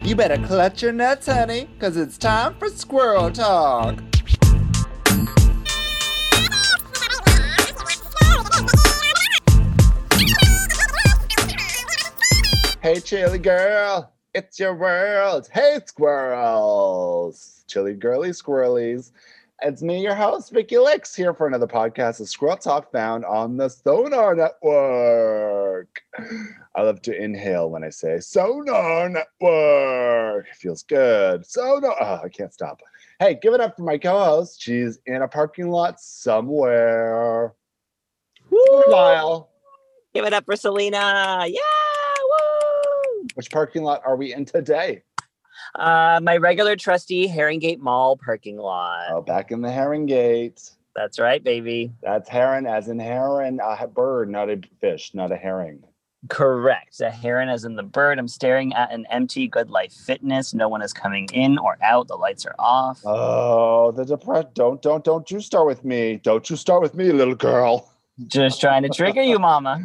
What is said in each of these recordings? You better clutch your nuts, honey, because it's time for squirrel talk. Hey, chilly girl, it's your world. Hey, squirrels, chilly girly squirrelies. It's me, your host, Vicky Licks, here for another podcast of Squirrel Talk found on the Sonar Network. I love to inhale when I say Sonar Network. It feels good. Sonar. Oh, I can't stop. Hey, give it up for my co host. She's in a parking lot somewhere. Woo! Lyle, Give it up for Selena. Yeah. Woo. which parking lot are we in today? Uh, my regular trusty Herringate Mall parking lot. Oh, back in the Herring Gate. That's right, baby. That's heron, as in heron, a bird, not a fish, not a herring. Correct. A heron as in the bird. I'm staring at an empty Good Life Fitness. No one is coming in or out. The lights are off. Oh, the depression. Don't, don't, don't you start with me. Don't you start with me, little girl. Just trying to trigger you, mama.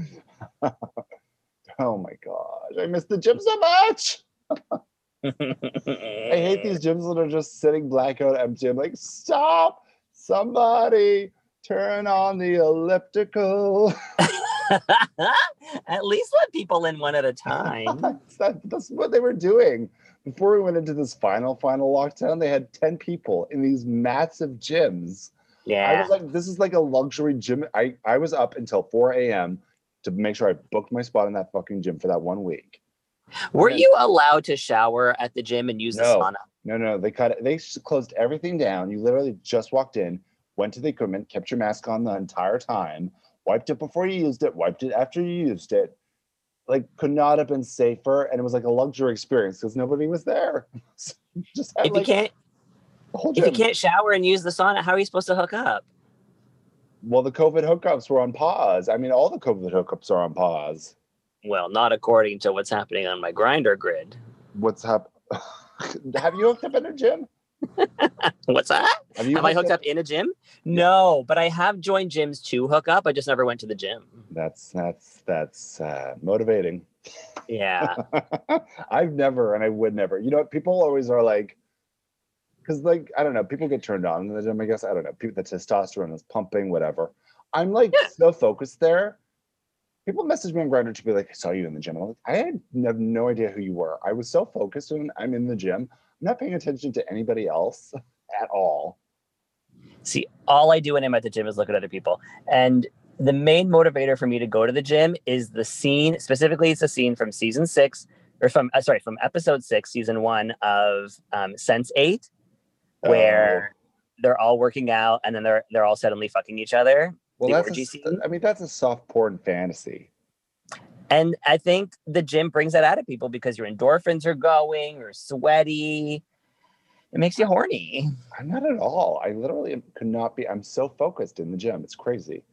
Oh my gosh. I miss the gym so much. I hate these gyms that are just sitting blackout empty. I'm like, stop, somebody, turn on the elliptical. at least let people in one at a time. That- that's what they were doing. Before we went into this final, final lockdown, they had 10 people in these massive gyms. I Yeah. was like, this is like a luxury gym. I, I was up until 4 a.m. to make sure I booked my spot in that fucking gym for that one week. Were you allowed to shower at the gym and use No. the sauna? No, no, they cut it. They s- closed everything down. You literally just walked in, went to the equipment, kept your mask on the entire time, wiped it before you used it, wiped it after you used it. Like, could not have been safer. And it was like a luxury experience because nobody was there. So you just had If you like can't the whole if you gym. can't shower and use the sauna, how are you supposed to hook up? Well, the COVID hookups were on pause. I mean, all the COVID hookups are on pause. Well, not according to what's happening on my grinder grid. What's up? have you hooked up in a gym? What's that? Have you Have I hooked up in a gym? No, but I have joined gyms to hook up. I just never went to the gym. That's that's that's uh, motivating. Yeah. I've never, and I would never. You know, what? people always are like, because like I don't know, people get turned on in the gym. I guess I don't know. People, the testosterone is pumping, whatever. I'm like Yeah. so focused there. People message me on Grinder to be like, "I saw you in the gym." I'm like, I had have no idea who you were. I was so focused, and I'm in the gym. I'm not paying attention to anybody else at all. See, all I do when I'm at the gym is look at other people. And the main motivator for me to go to the gym is the scene, specifically, it's a scene from season six, or from, uh, sorry, from episode six, season one of um, Sense 8, Um, where they're all working out and then they're, they're all suddenly fucking each other. well, the that's orgy a, scene? I mean, that's a soft porn fantasy. And I think the gym brings that out of people because your endorphins are going, you're sweaty. It makes you horny. I'm not at all. I literally am- could not be. I'm so focused in the gym. It's crazy.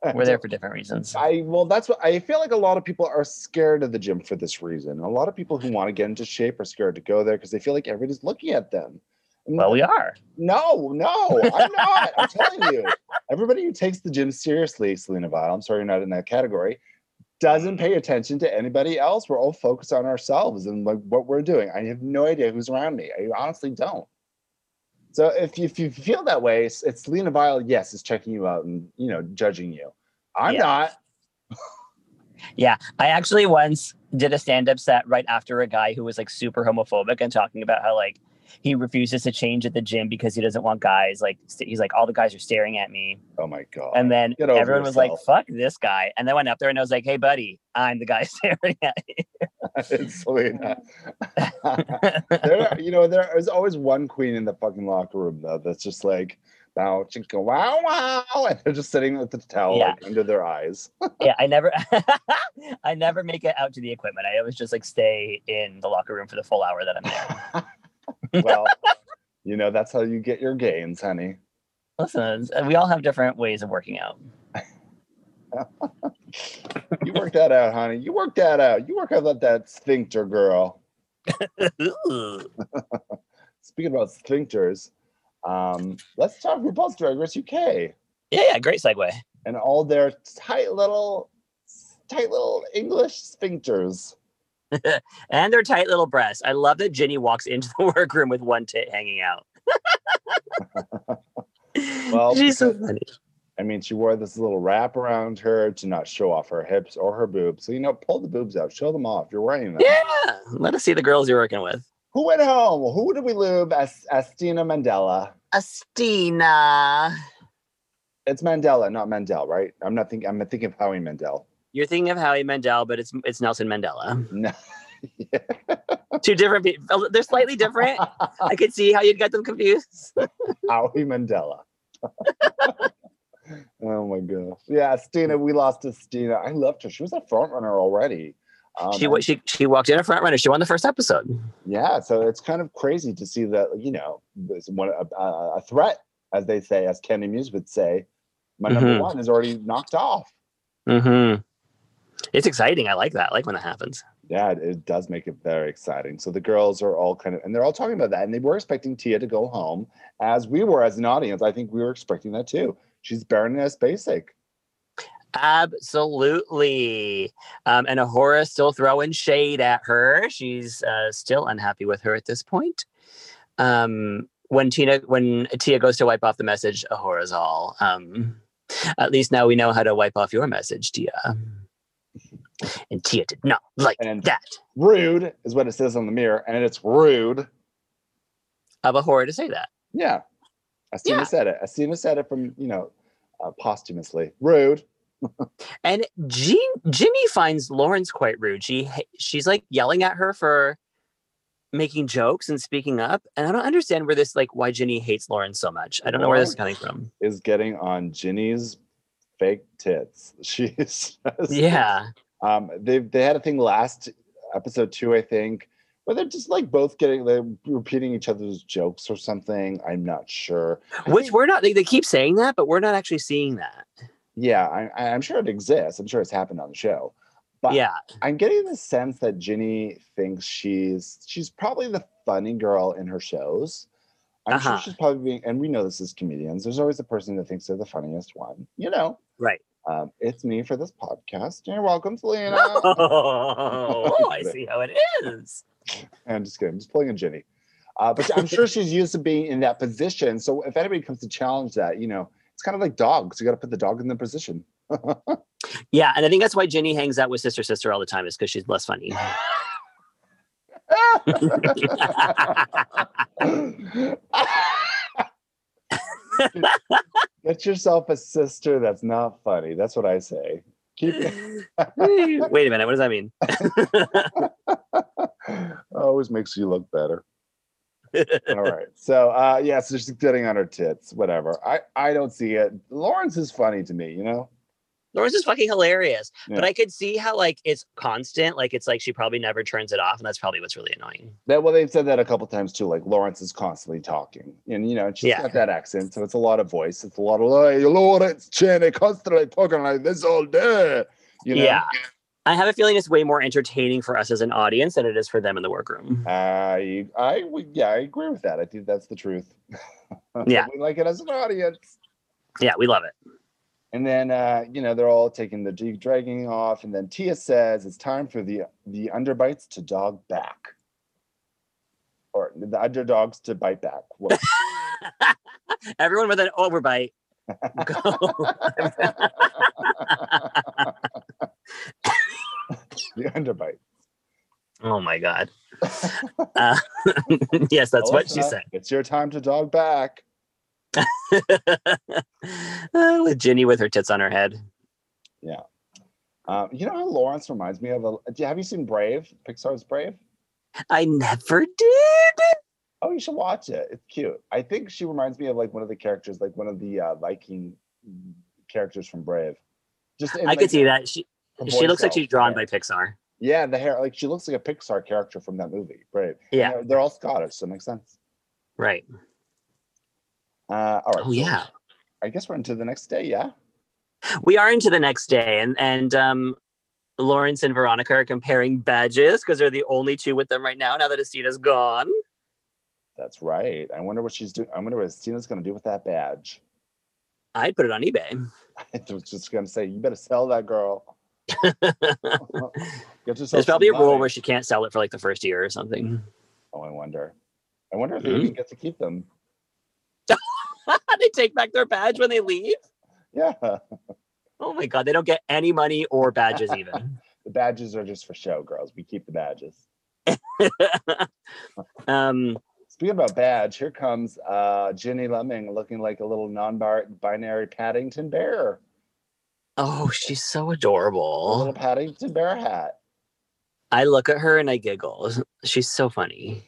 We're there for different reasons. Uh, I well, that's what I feel like. A lot of people are scared of the gym for this reason. A lot of people who want to get into shape are scared to go there because they feel like everybody's looking at them. And Well, we are. no, no, I'm not. I'm telling you, everybody who takes the gym seriously, Selena Vile, I'm sorry you're not in that category, doesn't pay attention to anybody else. We're all focused on ourselves and like what we're doing. I have no idea who's around me. I honestly don't. So if you, if you feel that way, it's, it's Selena Vile. Yes, is checking you out and you know judging you. I'm Yeah. not. Yeah. I actually once did a stand up set right after a guy who was like super homophobic and talking about how like he refuses to change at the gym because he doesn't want guys like, st- he's like, all the guys are staring at me. Oh my god. And then Get over everyone was like, yourself. fuck this guy. And then went up there and I was like, hey, buddy, I'm the guy staring at it's Selena. there, you know, there is always one queen in the fucking locker room though that's just like bow chicka wow wow, and they're just sitting with the towel Yeah. like, under their eyes. yeah, I never, I never make it out to the equipment. I always just like stay in the locker room for the full hour that I'm there. well, you know, that's how you get your gains, honey. Listen, we all have different ways of working out. You work that out, honey. You work that out. You work out that, that sphincter girl. Speaking about sphincters, um, let's talk RuPaul's Drag Race UK Yeah, yeah, great segue. and all their tight little, tight little English sphincters. and their tight little breasts. I love that Ginny walks into the workroom with one tit hanging out. Well, she's so because- funny. I mean, she wore this little wrap around her to not show off her hips or her boobs. So, you know, pull the boobs out, show them off. You're wearing them. Yeah, let us see the girls you're working with. Who went home? Who did we lose? As- Astina Mandela. Astina, It's Mandela, not Mandel, right? I'm not thinking, I'm thinking of Howie Mandel. you're thinking of Howie Mandel, but it's it's Nelson Mandela. No. Two different people. They're slightly different. I could see how you'd get them confused. Howie Mandela. oh my gosh. Yeah, Stina, we lost to Stina. I loved her. She was a front runner already. Um, she wa- she she walked in a front runner. She won the first episode. yeah, so it's kind of crazy to see that, you know, this one a, a a threat, as they say, as Candy Muse would say, my number Mhm. one is already knocked off. hmm It's exciting. I like that. I like when that happens. Yeah, it, it does make it very exciting. So the girls are all kind of, and they're all talking about that. And they were expecting Tia to go home, as we were as an audience. I think we were expecting that too. She's Baroness Basic. Absolutely. Um, and Ahura is still throwing shade at her. She's uh, still unhappy with her at this point. Um, when Tina, when Tia goes to wipe off the message, Ahura's all. Um, at least now we know how to wipe off your message, Tia. And Tia did not like And- that Rude is what it says on the mirror, and it's rude. of Ahura to say that. Yeah. Astina Yeah. said it. Astina said it from, you know, uh, posthumously. Rude. And Jean, Ginny finds Lawrence quite rude. She ha- she's like yelling at her for making jokes and speaking up. And I don't understand where this like why Ginny hates Lauren so much. I don't know where this is coming from. Is getting on Ginny's fake tits. She's just, Yeah, Um, they they had a thing last episode two, I think, where they're just like both getting they're repeating each other's jokes or something. I'm not sure. which we're not. They, they keep saying that, but we're not actually seeing that. Yeah, I, I- I'm sure it exists. I'm sure it's happened on the show. But yeah, I'm getting the sense that Ginny thinks she's she's probably the funny girl in her shows. I'm Uh-huh. sure she's probably being, and we know this as comedians. There's always the person that thinks they're the funniest one. You know, right. um, it's me for this podcast. You're welcome, Selena. Oh, I see how it is. I'm just kidding. I'm just pulling a Ginny. Uh, but I'm sure she's used to being in that position. So if anybody comes to challenge that, you know, it's kind of like dogs. You got to put the dog in the position. Yeah, and I think that's why Ginny hangs out with sister sister all the time is because she's less funny. Get yourself a sister that's not funny. That's what I say. Keep Wait a minute, what does that mean? always makes you look better. All right. So uh yeah, so she's getting on her tits, whatever. I I don't see it. Lawrence is funny to me, you know? Lawrence is fucking hilarious. But Yeah. I could see how like it's constant. Like it's like she probably never turns it off, and that's probably what's really annoying. That well, they've said that a couple times too. Like Lawrence is constantly talking, and you know she's Yeah. got that accent, so it's a lot of voice. It's a lot of like Lawrence Cheney constantly talking like this all day. You know? Yeah. I have a feeling it's way more entertaining for us as an audience than it is for them in the workroom. I I would yeah I agree with that. I think that's the truth. Yeah. we like it as an audience. Yeah, we love it. And then uh, you know they're all taking the deep dragging off, and then Tia says it's time for the the underbites to dog back, or the underdogs to bite back. What- Everyone with an overbite. Go. the underbite. oh my god. Uh, yes, that's what she Alyssa, said. It's your time to dog back. Uh, with Ginny with her tits on her head. Um, you know how Lawrence reminds me of a. do- Have you seen Brave? Pixar's Brave. I never did. Oh, you should watch it. It's cute. I think she reminds me of like one of the characters, like one of the uh, Viking characters from Brave. Just in, I could like, see that. She her she voice looks like out. she's drawn Yeah. by Pixar. Yeah, the hair. Like she looks like a Pixar character from that movie. Brave. And Yeah. They're, they're all Scottish, so it makes sense. Right. Uh, all right. so Oh yeah. I guess we're into the next day. Yeah. we are into the next day and and um Lawrence and Veronica are comparing badges because they're the only two with them right now. Now that Estina's gone, That's right. I wonder what she's doing. I wonder what Tina's going to do with that badge. I'd put it on eBay. I was just going to say, you better sell that girl. Get yourself There's probably a some rule wine. where she can't sell it for like the first year or something. Oh, I wonder. I wonder if Mhm. they even get to keep them. they take back their badge when they leave. Yeah, Oh my god, they don't get any money or badges even. the badges are just for show, girls. We keep the badges. um, Speaking about badge, here comes uh, Ginny Lemming looking like a little non-binary Paddington bear, oh, she's so a little adorable. Paddington bear hat. I look at her and I giggle. She's so funny.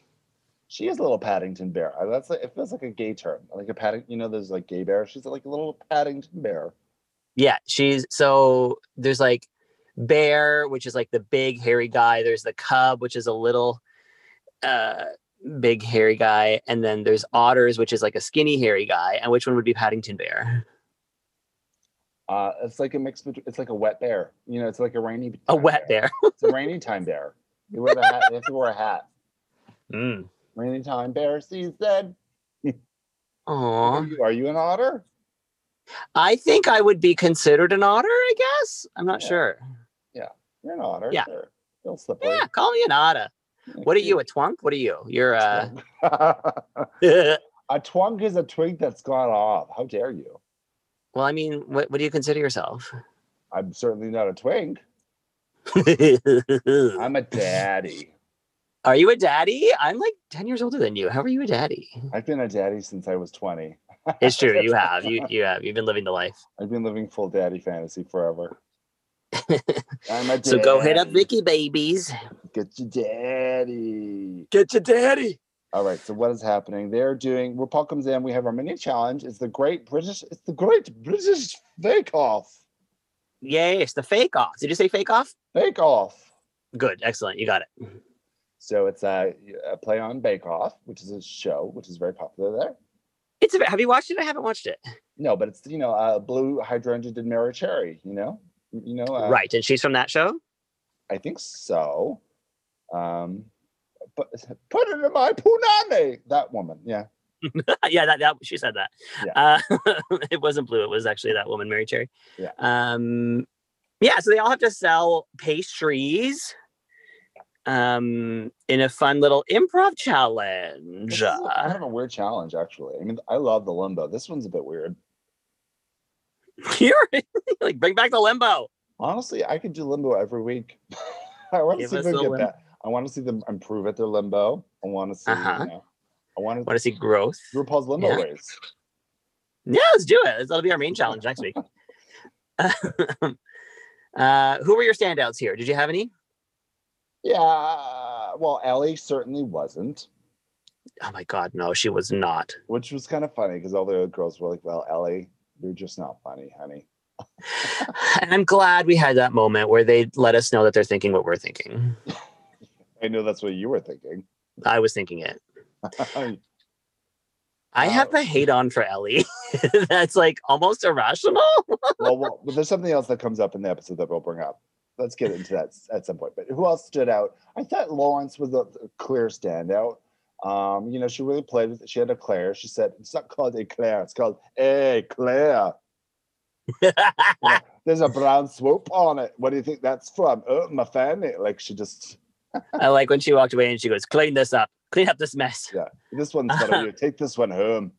She is a little Paddington bear. I- That's like, it feels like a gay term, like a Paddington. You know, there's like gay bear. She's like a little Paddington bear. Yeah, she's so there's like bear, which is like the big hairy guy. There's the cub, which is a little uh big hairy guy, and then there's otters, which is like a skinny hairy guy. And which one would be Paddington Bear? Uh, it's like a mix between. It's like a wet bear. You know, it's like a rainy. A time wet bear. It's a rainy time bear. You wear the hat. You have to wear a hat. Mm. Rainy time bear season. Are Aw. you, are you an otter? I think I would be considered an otter, I guess. I'm not Yeah. sure. You're an otter. Yeah. Sure. Feel slippery. Yeah, call me an otter. What are you, a twunk? What are you? You're uh a twunk is a twig that's gone off. How dare you? well, I mean, what, what do you consider yourself? I'm certainly not a twink. I'm a daddy. Are you a daddy? I'm like 10 years older than you. How are you a daddy? I've been a daddy since I was 20. It's true. You have. You you have. You've been living the life. I've been living full daddy fantasy forever. I'm a daddy. So go hit up Vicky Babies. Get your daddy. Get your daddy. All right. So what is happening? They're doing. Well, Paul comes in. We have our mini challenge. It's the Great British. It's the Great British Bake Off. Yes, the fake off. Did you say fake off? Bake Off. Good. Excellent. You got it. So it's a, a play on Bake Off, which is a show which is very popular there. It's a, have you watched it? I haven't watched it. No, but it's you know, uh, Blue Hydrangea did Mary Cherry. You know, you know, uh, right. And she's from that show? I think so. Um, but put it in my punani. That woman, yeah, yeah, that, that she said that. Uh, it wasn't blue. It was actually that woman, Mary Cherry. Yeah. Um, yeah. So they all have to sell pastries, um, in a fun little improv This challenge. is a- kind of a weird challenge, actually. I mean, I love the limbo. This one's a bit weird. You're like bring back the limbo. Honestly, I could do limbo every week. I want to Give see us them the get limbo. back. I want to see them improve at their limbo. I want to see. Uh-huh. You know, I want to Want to see growth? RuPaul's limbo Yeah. ways. Yeah, let's do it. That'll be our main challenge next week. uh, who were your standouts here? Did you have any? Yeah. Well, Ellie certainly wasn't. Oh my God, no, she was not. which was kind of funny because all the other girls were like, "Well, Ellie, you're just not funny, honey." And I'm glad we had that moment where they let us know that they're thinking what we're thinking. I know that's what you were thinking. I was thinking it. I have Oh. a hate on for Ellie that's like almost irrational. well, well, but there's something else that comes up in the episode that we'll bring up. Let's get into that s- at some point. But who else stood out? I thought Lawrence was a a clear standout. Um, you know, she really played with. She had a Claire. She said, "It's not called a Claire. It's called a Claire." There's a brown swoop on it. What do you think that's from? Oh, my family. Like she just. I like when she walked away and she goes, clean this up, clean up this mess. Yeah. This one's better. You take this one home.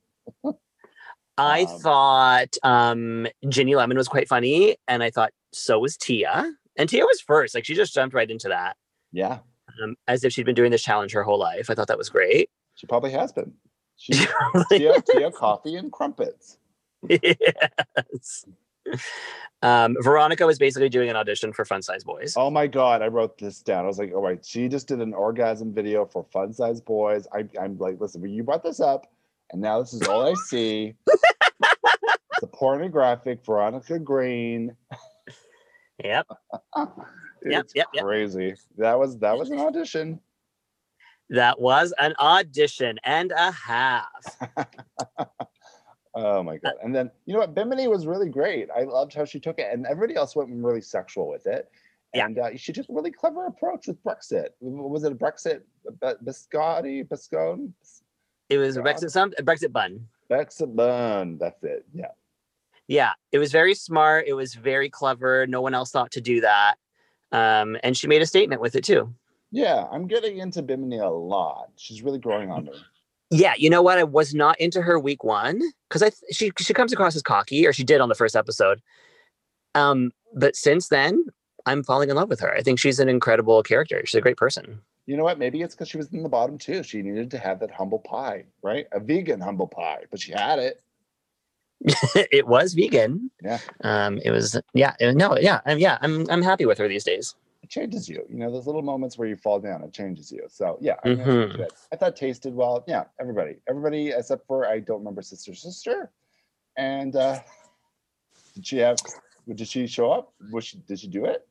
I Um, thought um Ginny Lemon was quite funny, and I thought so was Tia. And Tia was first. Like she just jumped right into that. Yeah. Um, as if she'd been doing this challenge her whole life. I thought that was great. She probably has been. She tea, tea, coffee, and crumpets. yes. Um, Veronica was basically doing an audition for Fun Size Boys. Oh my god, I wrote this down. I was like, all right, she just did an orgasm video for fun size boys. I, I'm like, listen, well, you brought this up, and now this is all I see. the pornographic Veronica Green. Yep. Yep, It's yep, yep. Crazy. That was that was an audition. That was an audition and a half. Oh my god! And then you know what? Bimini was really great. I loved how she took it, and everybody else went really sexual with it. Yeah. And uh, she took a really clever approach with Brexit. W- Was it a Brexit B- biscotti, biscone, It was a God. Brexit some a Brexit bun. Brexit bun? That's it. Yeah. yeah, it was very smart. It was very clever. No one else thought to do that. Um, and she made a statement with it too. Yeah, I'm getting into Bimini a lot. She's really growing on me. Yeah, you know what? I was not into her week one because I th- she she comes across as cocky, or she did on the first episode. Um, but since then, I'm falling in love with her. I think she's an incredible character. She's a great person. You know what? Maybe it's because she was in the bottom too. She needed to have that humble pie, right? A vegan humble pie, but she had it. it was vegan. Yeah. Um, it was yeah, uh, no, yeah, I'm yeah, I'm I'm happy with her these days. It changes you. You know, those little moments where you fall down, it changes you. So yeah, I, mean, I think Mhm. that- I thought tasted well. Yeah, everybody, everybody except for I don't remember sister sister. And uh did she have? Did she show up? Was she? Did she do it?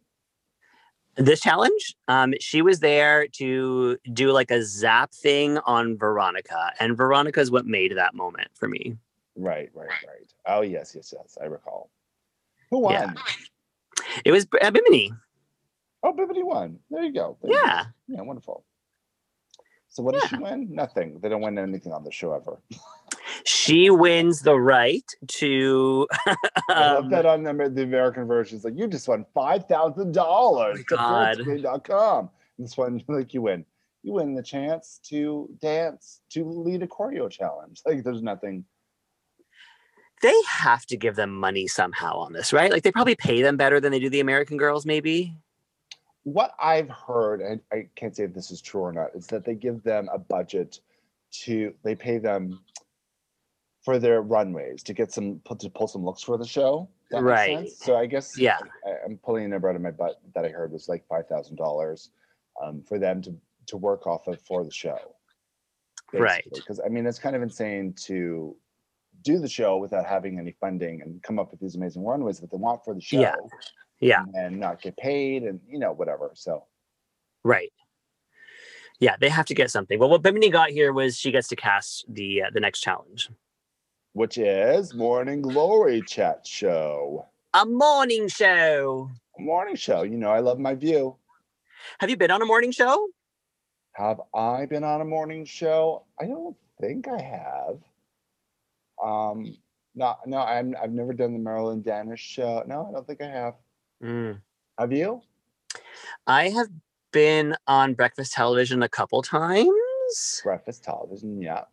This challenge, um, she was there to do like a zap thing on Veronica, and Veronica is what made that moment for me. Right, right, right. Oh yes, yes, yes. I recall. Who won? Yeah. It was B- uh, Bimini. Oh, Bibbidi won. There you go. There you go. Yeah. Yeah, wonderful. So what does she win? Nothing. They don't win anything on the show ever. She wins the right to I love um, that on the, Amer- the American version. It's like, you just won $5,000 to Oh God. fullscreen.com. And This one, like, you win. You win the chance to dance, to lead a choreo challenge. Like, there's nothing. they have to give them money somehow on this, right? Like they probably pay them better than they do the American girls, maybe. What I've heard, and I can't say if this is true or not, is that they give them a budget to, they pay them for their runways to get some, pu- to pull some looks for the show. That makes Right. sense? So I guess Yeah. I, I'm pulling a number out of my butt that I heard was like five thousand dollars um, for them to to work off of for the show. Right. Because I mean, it's kind of insane to do the show without having any funding and come up with these amazing runways that they want for the show. Yeah. Yeah. And not get paid and you know whatever. So Right. Yeah, they have to get something. Well, what Bimini got here was she gets to cast the uh, the next challenge, which is morning glory chat show. a morning show. Morning show. You know, I love my view. Have you been on a morning show? Have I been on a morning show? I don't think I have. Um, not no, I'm I've never done the Marilyn Danish show. No, I don't think I have. Mm. Have you? I have been on breakfast television a couple times Breakfast television, yeah.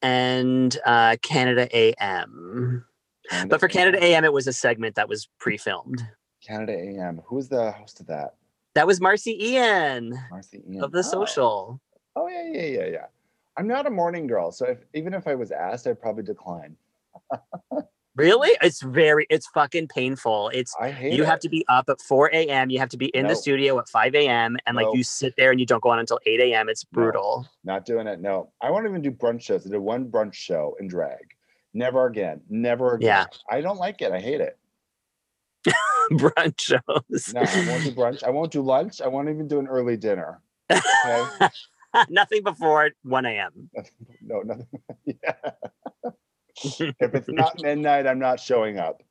and uh, Canada AM. Canada But for Canada AM. AM, it was a segment that was pre-filmed. Canada AM. Who was the host of that? That was Marcy Ian Marcy Ian. of the Oh. Social. Oh yeah, yeah, yeah, yeah. I'm not a morning girl, so if, even if I was asked, I'd probably decline. Really? It's very. It's fucking painful. It's I hate you have it. to be up at 4 a.m. You have to be in No. the studio at 5 a.m. And No. like you sit there and you don't go on until 8 a.m. It's No. brutal. Not doing it. No, I won't even do brunch shows. I did one brunch show in drag. Never again. Never again. I don't like it. I hate it. Brunch shows. No, I won't do brunch. I won't do lunch. I won't even do an early dinner. Okay. Nothing before 1 a.m. no, nothing. yeah. If it's not midnight, I'm not showing up.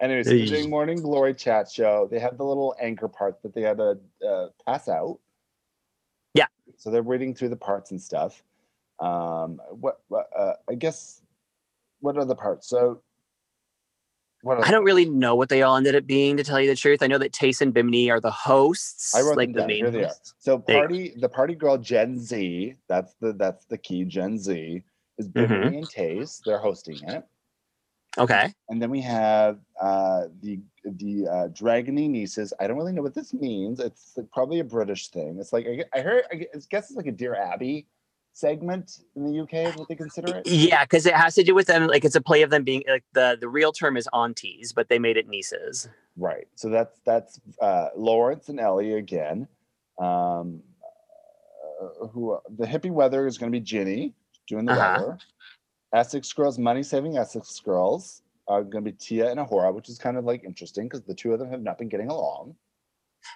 Anyways, so they're doing morning glory chat show. They have the little anchor part that they had to uh, pass out. Yeah. So they're reading through the parts and stuff. Um, what? what uh, I guess. What are the parts? So. What are I don't really know what they all ended up being, to tell you the truth. I know that Tayson and Bimini are the hosts. I wrote like them the down. main Here they are. hosts. So There you go. party, the party girl Gen Z. That's the that's the key. Gen Z is Mm-hmm. Bimini and Taste. They're hosting it, Okay. and then we have uh, the the uh, Dragony nieces. I don't really know what this means. It's probably a British thing. It's like I, gue- I heard. I gue- I guess it's like a Dear Abby segment in the UK. Is what they consider it. Yeah, because it has to do with them. Like it's a play of them being like the the real term is aunties, but they made it nieces. Right. So that's that's uh, Lawrence and Ellie again. Um, uh, who the hippie weather is going to be Ginny doing the Uh-huh. weather. Essex girls, money saving Essex girls are going to be Tia and Ahura, which is kind of like interesting because the two of them have not been getting along.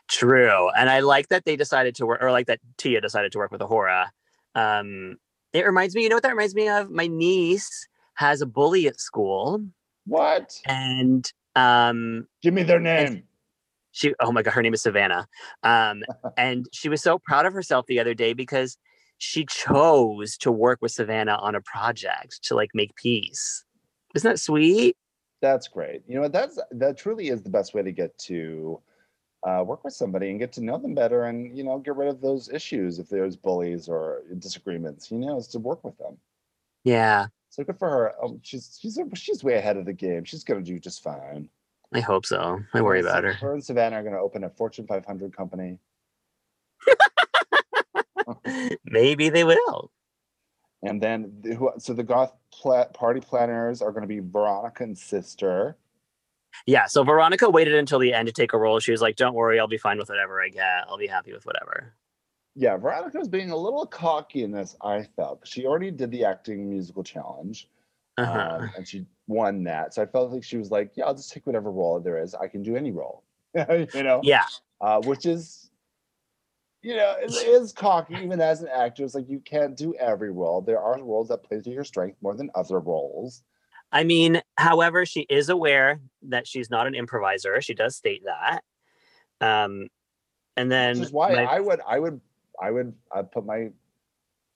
True. And I like that they decided to work, or like that Tia decided to work with Ahura. Um, it reminds me, you know what that reminds me of? My niece has a bully at school, What? and um, Give me their name. she, oh my God, her name is Savannah. Um, and she was so proud of herself the other day because she chose to work with Savannah on a project to like make peace. Isn't that sweet? That's great. You know what? That's that truly is the best way to get to uh, work with somebody and get to know them better, and you know, get rid of those issues if there's bullies or disagreements. You know, is to work with them. Yeah, So good for her. Um, she's she's she's way ahead of the game. She's gonna do just fine. I hope so. I worry about her. Her and Savannah are gonna open a Fortune 500 company. Maybe they will. And then, the- who, so the goth pla- party planners are going to be Veronica and sister. Yeah, so Veronica waited until the end to take a role. She was like, "Don't worry, I'll be fine with whatever I get. I'll be happy with whatever." Yeah, Veronica was being a little cocky in this, I felt. 'cause She already did the acting musical challenge Uh-huh. um, and she won that. So I felt like she was like, yeah, I'll just take whatever role there is. I can do any role, you know, yeah, uh, which is, you know, it is cocky even as an actress. Like, you can't do every role. There are roles that play to your strength more than other roles. I mean, however, she is aware that she's not an improviser. She does state that. Um, and then which is why my- I would I would I would i put my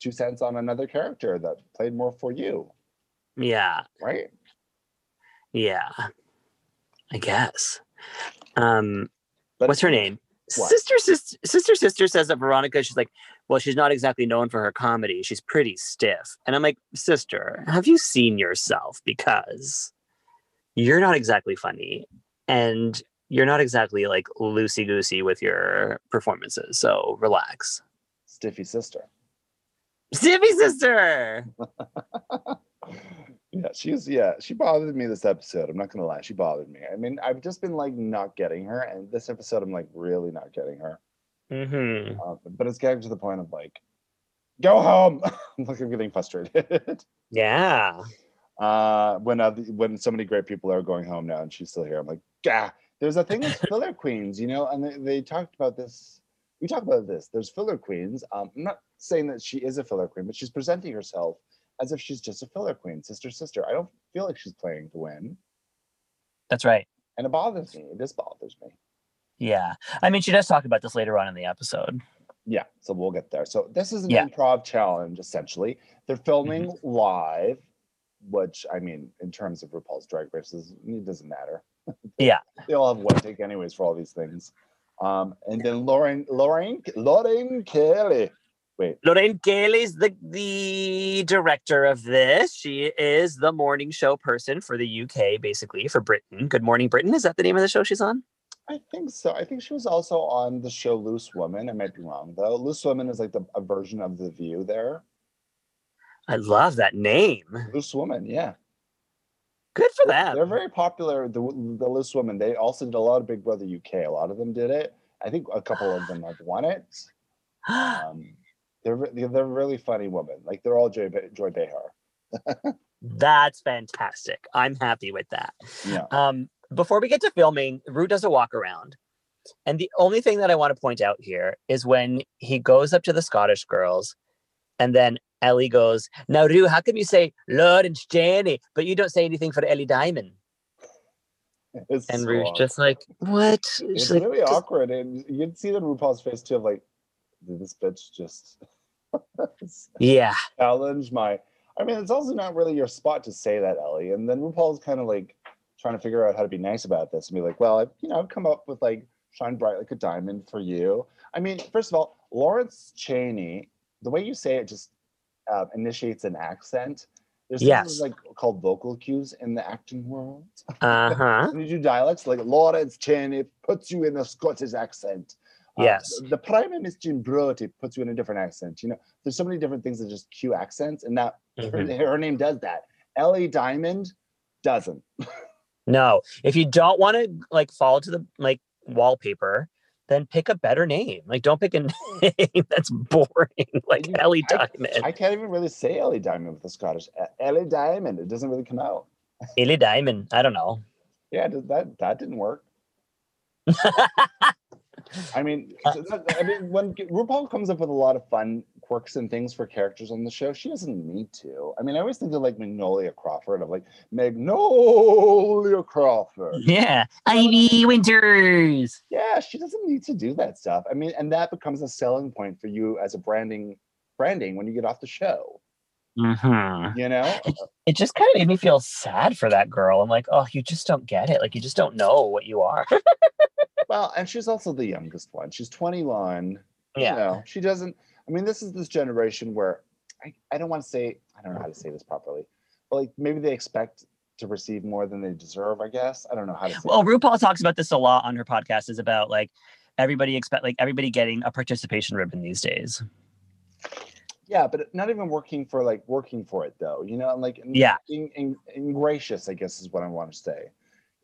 two cents on another character that played more for you, yeah, right? yeah, I guess. Um, But what's her name? What? Sister, sister, sister, sister says that Veronica. She's like, well, she's not exactly known for her comedy. She's pretty stiff. And I'm like, sister, have you seen yourself? Because you're not exactly funny, and you're not exactly like loosey goosey with your performances. So relax. Stiffy sister. Zippy sister. Yeah, she's yeah, she bothered me this episode. I'm not gonna lie, she bothered me. I mean, I've just been like not getting her, and this episode I'm like really not getting her. Mm-hmm. Uh, but it's getting to the point of like, go home. like I'm getting frustrated. Yeah. uh when other, when so many great people are going home now and she's still here i'm like gah there's a thing with filler queens you know and they, they talked about this we talked about this there's filler queens um i'm not saying that she is a filler queen but she's presenting herself as if she's just a filler queen sister sister i don't feel like she's playing to win That's right. and it bothers me this bothers me Yeah. I mean, she does talk about this later on in the episode. yeah so we'll get there so this is an Yeah. Mm-hmm. improv challenge essentially they're filming live which i mean in terms of rupaul's drag races it doesn't matter Yeah. they all have one take anyways for all these things. Um, and then Lauren, Lauren, Lauren Kelly. Wait, Lorraine Gailey's the the director of this. She is the morning show person for the UK, basically for Britain. Good Morning Britain. Is that the name of the show she's on? I think so. I think she was also on the show Loose Woman. I might be wrong though. Loose Woman is like the, a version of The View. There, I love that name. Loose Woman. Yeah, Good for they're them. very popular. The the Loose Woman. They also did a lot of Big Brother UK. A lot of them did it. I think a couple of them have won it. Um, they're re- they're they're really funny women. Like they're all Joy Be- Joy Behar. That's fantastic. I'm happy with that. Yeah. Um, before we get to filming, Rue does a walk around. And the only thing that I want to point out here is when he goes up to the Scottish girls, and then Ellie goes, Now, Rue, how come you say Lawrence Jenny, but you don't say anything for Ellie Diamond? It's And so Rue's awkward. just like, What? It's She's like, really "Just- awkward, and you'd see it in RuPaul's face too. Of like, did this bitch just yeah. challenge my? I mean, it's also not really your spot to say that, Ellie. And then RuPaul's kind of like trying to figure out how to be nice about this and be like, well, I, you know, I've come up with like shine bright like a diamond for you. I mean, first of all, Lawrence Cheney, the way you say it just uh, initiates an accent. There's Yes. something like called vocal cues in the acting world. Uh huh. When you do dialects, like Lawrence Cheney puts you in a Scottish accent. Uh, Yes. the- the Prime Minister Jim Brody puts you in a different accent. You know, there's so many different things that just cue accents, and that Mhm. her, her name does that. Ellie Diamond doesn't. No, if you don't want to like fall to the like wallpaper, then pick a better name. Like, don't pick a name that's boring, like You- Ellie I- Diamond. I can't even really say Ellie Diamond with a Scottish. uh, Ellie Diamond, it doesn't really come out. Ellie Diamond. I don't know. Yeah, th- that that didn't work. I mean, so that- I mean, when RuPaul comes up with a lot of fun quirks and things for characters on the show, she doesn't need to. I mean, I always think of like Magnolia Crawford. I'm like Magnolia Crawford. Yeah. Ivy Winters. Yeah, she doesn't need to do that stuff. I mean, and that becomes a selling point for you as a branding branding when you get off the show. Mm-hmm. You know, It just kind of made me feel sad for that girl. I'm like, oh, you just don't get it. Like, you just don't know what you are. well, and she's also the youngest one. She's 21. yeah. you know, she doesn't. I mean, this is this generation where I, I don't want to say I don't know how to say this properly, but like maybe they expect to receive more than they deserve. I guess I don't know how to. Say Well, it. RuPaul talks about this a lot on her podcast. Is about like everybody expect like everybody getting a participation ribbon these days. yeah, but not even working for like working for it though. You know, and like and Yeah. being in, gracious, I guess is what I want to say.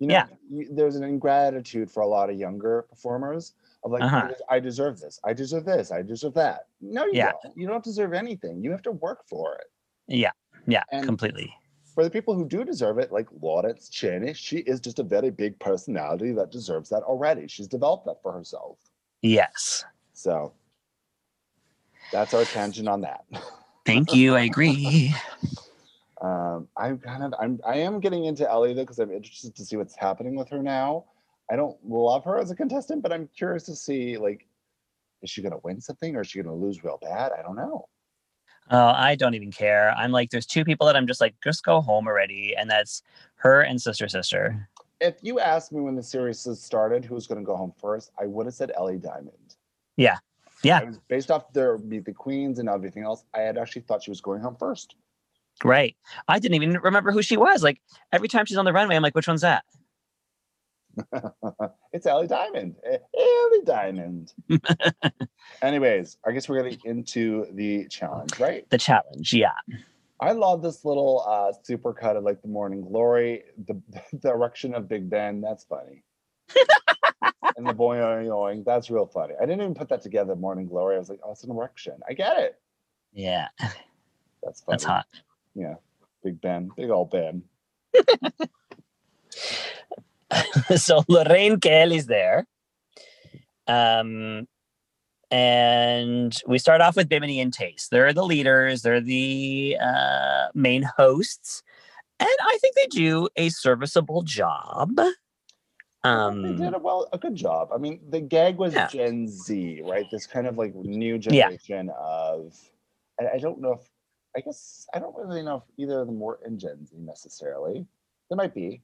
You know, Yeah. you, there's an ingratitude for a lot of younger performers of like, Uh-huh. "I des- I deserve this, I deserve this, I deserve that. No, you Yeah. don't. You don't deserve anything. You have to work for it. Yeah. Yeah. And- completely. for the people who do deserve it, like Lawrence Cheney, she is just a very big personality that deserves that already. She's developed that for herself. Yes. So that's our tangent on that. Thank you. I agree. Um, I'm kind of I'm I am getting into Ellie though because I'm interested to see what's happening with her now. I don't love her as a contestant, but I'm curious to see like is she gonna win something or is she gonna lose real bad? I don't know. Oh, I don't even care. I'm like, there's two people that I'm just like, just go home already, and that's her and sister sister. If you asked me when the series started who was gonna go home first, I would have said Ellie Diamond. Yeah. Yeah. I was based off their Meet the Queens and everything else. I had actually thought she was going home first. Right. I didn't even remember who she was. Like every time she's on the runway, I'm like, which one's that? It's Ellie Diamond. Eh, Ellie Diamond. Anyways, I guess we're getting into the challenge, right? The challenge. Yeah. I love this little uh super cut of like the morning glory, the the erection of Big Ben. That's funny. and the boing oing. That's real funny. I didn't even put that together, morning glory. I was like, oh, it's an erection. I get it. Yeah. That's funny. That's hot. Yeah. Big Ben. Big old Ben. so Lorraine Kell is there. Um, and we start off with Bimini and Taste. They're the leaders, they're the uh, main hosts. And I think they do a serviceable job. they Um, did a well a good job. I mean, the gag was Yeah. Gen Z, right? This kind of like new Yeah. generation of. I, I don't know if I guess I don't really know if either of them were in Gen Z necessarily. They might be.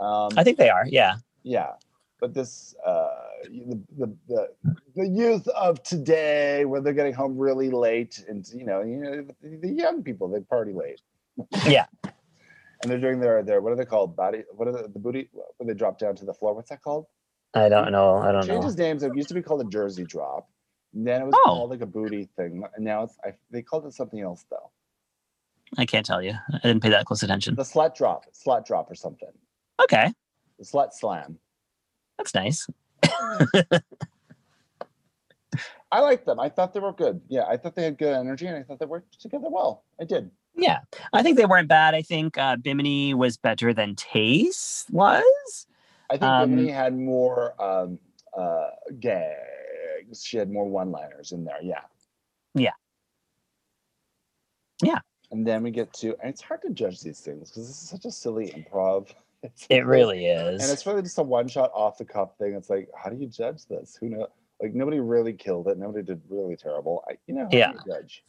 Um, I think they are. Yeah. yeah, but this uh, the, the the the youth of today, where they're getting home really late, and you know, you know, the, the young people they party late. Yeah. And they're doing their their what are they called body what are the, the booty when they drop down to the floor what's that called I don't know. I don't changed know. his names. It used to be called a Jersey Drop. And then it was Oh. called like a booty thing. And now it's I, they called it something else though. I can't tell you. I didn't pay that close attention. The slut drop, slut drop or something. Okay. The slut slam. That's nice. I liked them. I thought they were good. Yeah, I thought they had good energy, and I thought they worked together well. I did. Yeah, I think they weren't bad. I think uh, Bimini was better than Taste was. I think Um, Bimini had more um, uh, gags. She had more one-liners in there. Yeah. Yeah. Yeah. And then we get to, and it's hard to judge these things because this is such a silly improv. It's It really. really is. And it's really just a one shot off the cuff thing. It's like, how do you judge this? Who know? Like nobody really killed it. Nobody did really terrible. I, you know, how Yeah. do you judge?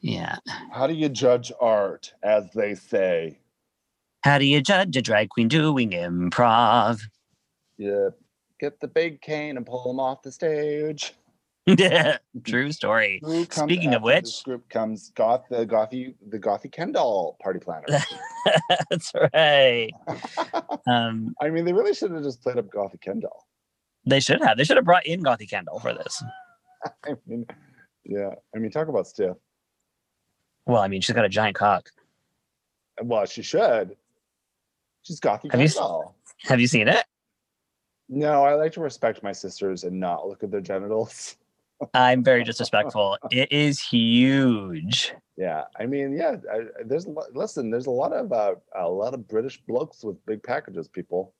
yeah. How do you judge art, as they say? How do you judge a drag queen doing improv? You get the big cane and pull them off the stage. True story. Who comes Speaking of after this which- group comes goth the gothy the gothy Ken doll party planner. That's right. Um, I mean, they really should have just played up gothy Ken doll. they should have. They should have brought in Gothy Kendall for this. I mean, yeah. I mean, talk about stiff. Well, I mean, she's got a giant cock. Well, she should. She's gothy Have Ken you s- doll. Have you seen it? No, I like to respect my sisters and not look at their genitals. I'm very disrespectful. It is huge. Yeah, I mean, yeah, I, I- there's a lot- listen, there's a lot of uh, a lot of British blokes with big packages. People,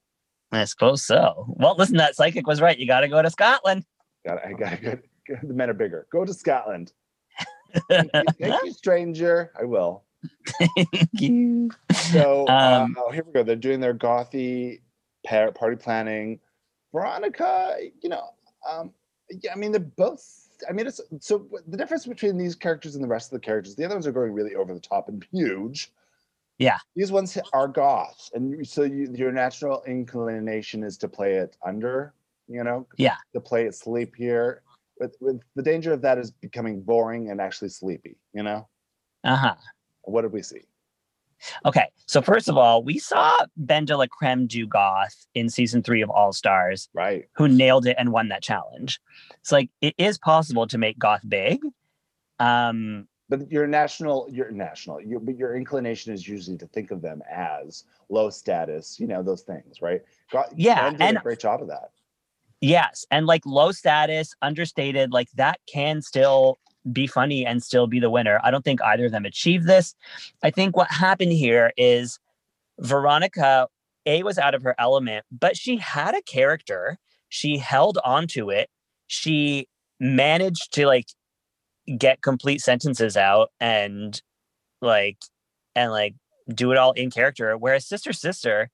I suppose so. Well, listen, that psychic was right. You got to go to Scotland. got I got good. The men are bigger. Go to Scotland. Thank you, thank you, stranger. I will. Thank you. So uh, Um, oh, here we go. They're doing their gothy par- party planning. Veronica, you know, um, yeah, I mean, they're both I mean, it's so the difference between these characters and the rest of the characters. The other ones are going really over the top and huge. Yeah. These ones are goths, and so you, your natural inclination is to play it under. You know. Yeah. To play it sleepier. With, with the danger of that is becoming boring and actually sleepy. You know. Uh huh. What did we see? Okay, so first of all, we saw Ben de la Creme do goth in season three of All Stars, Right. who nailed it and won that challenge. It's like it is possible to make goth big. Um, But your national, your national, your, but your inclination is usually to think of them as low status. You know those things, right? Got, Yeah, Glenn did and- a great job of that. yes, and like low status, understated, like that can still be funny and still be the winner. I don't think either of them achieved this. I think what happened here is Veronica A was out of her element, but she had a character. She held on to it. She managed to like get complete sentences out and like and like do it all in character. Whereas Sister Sister,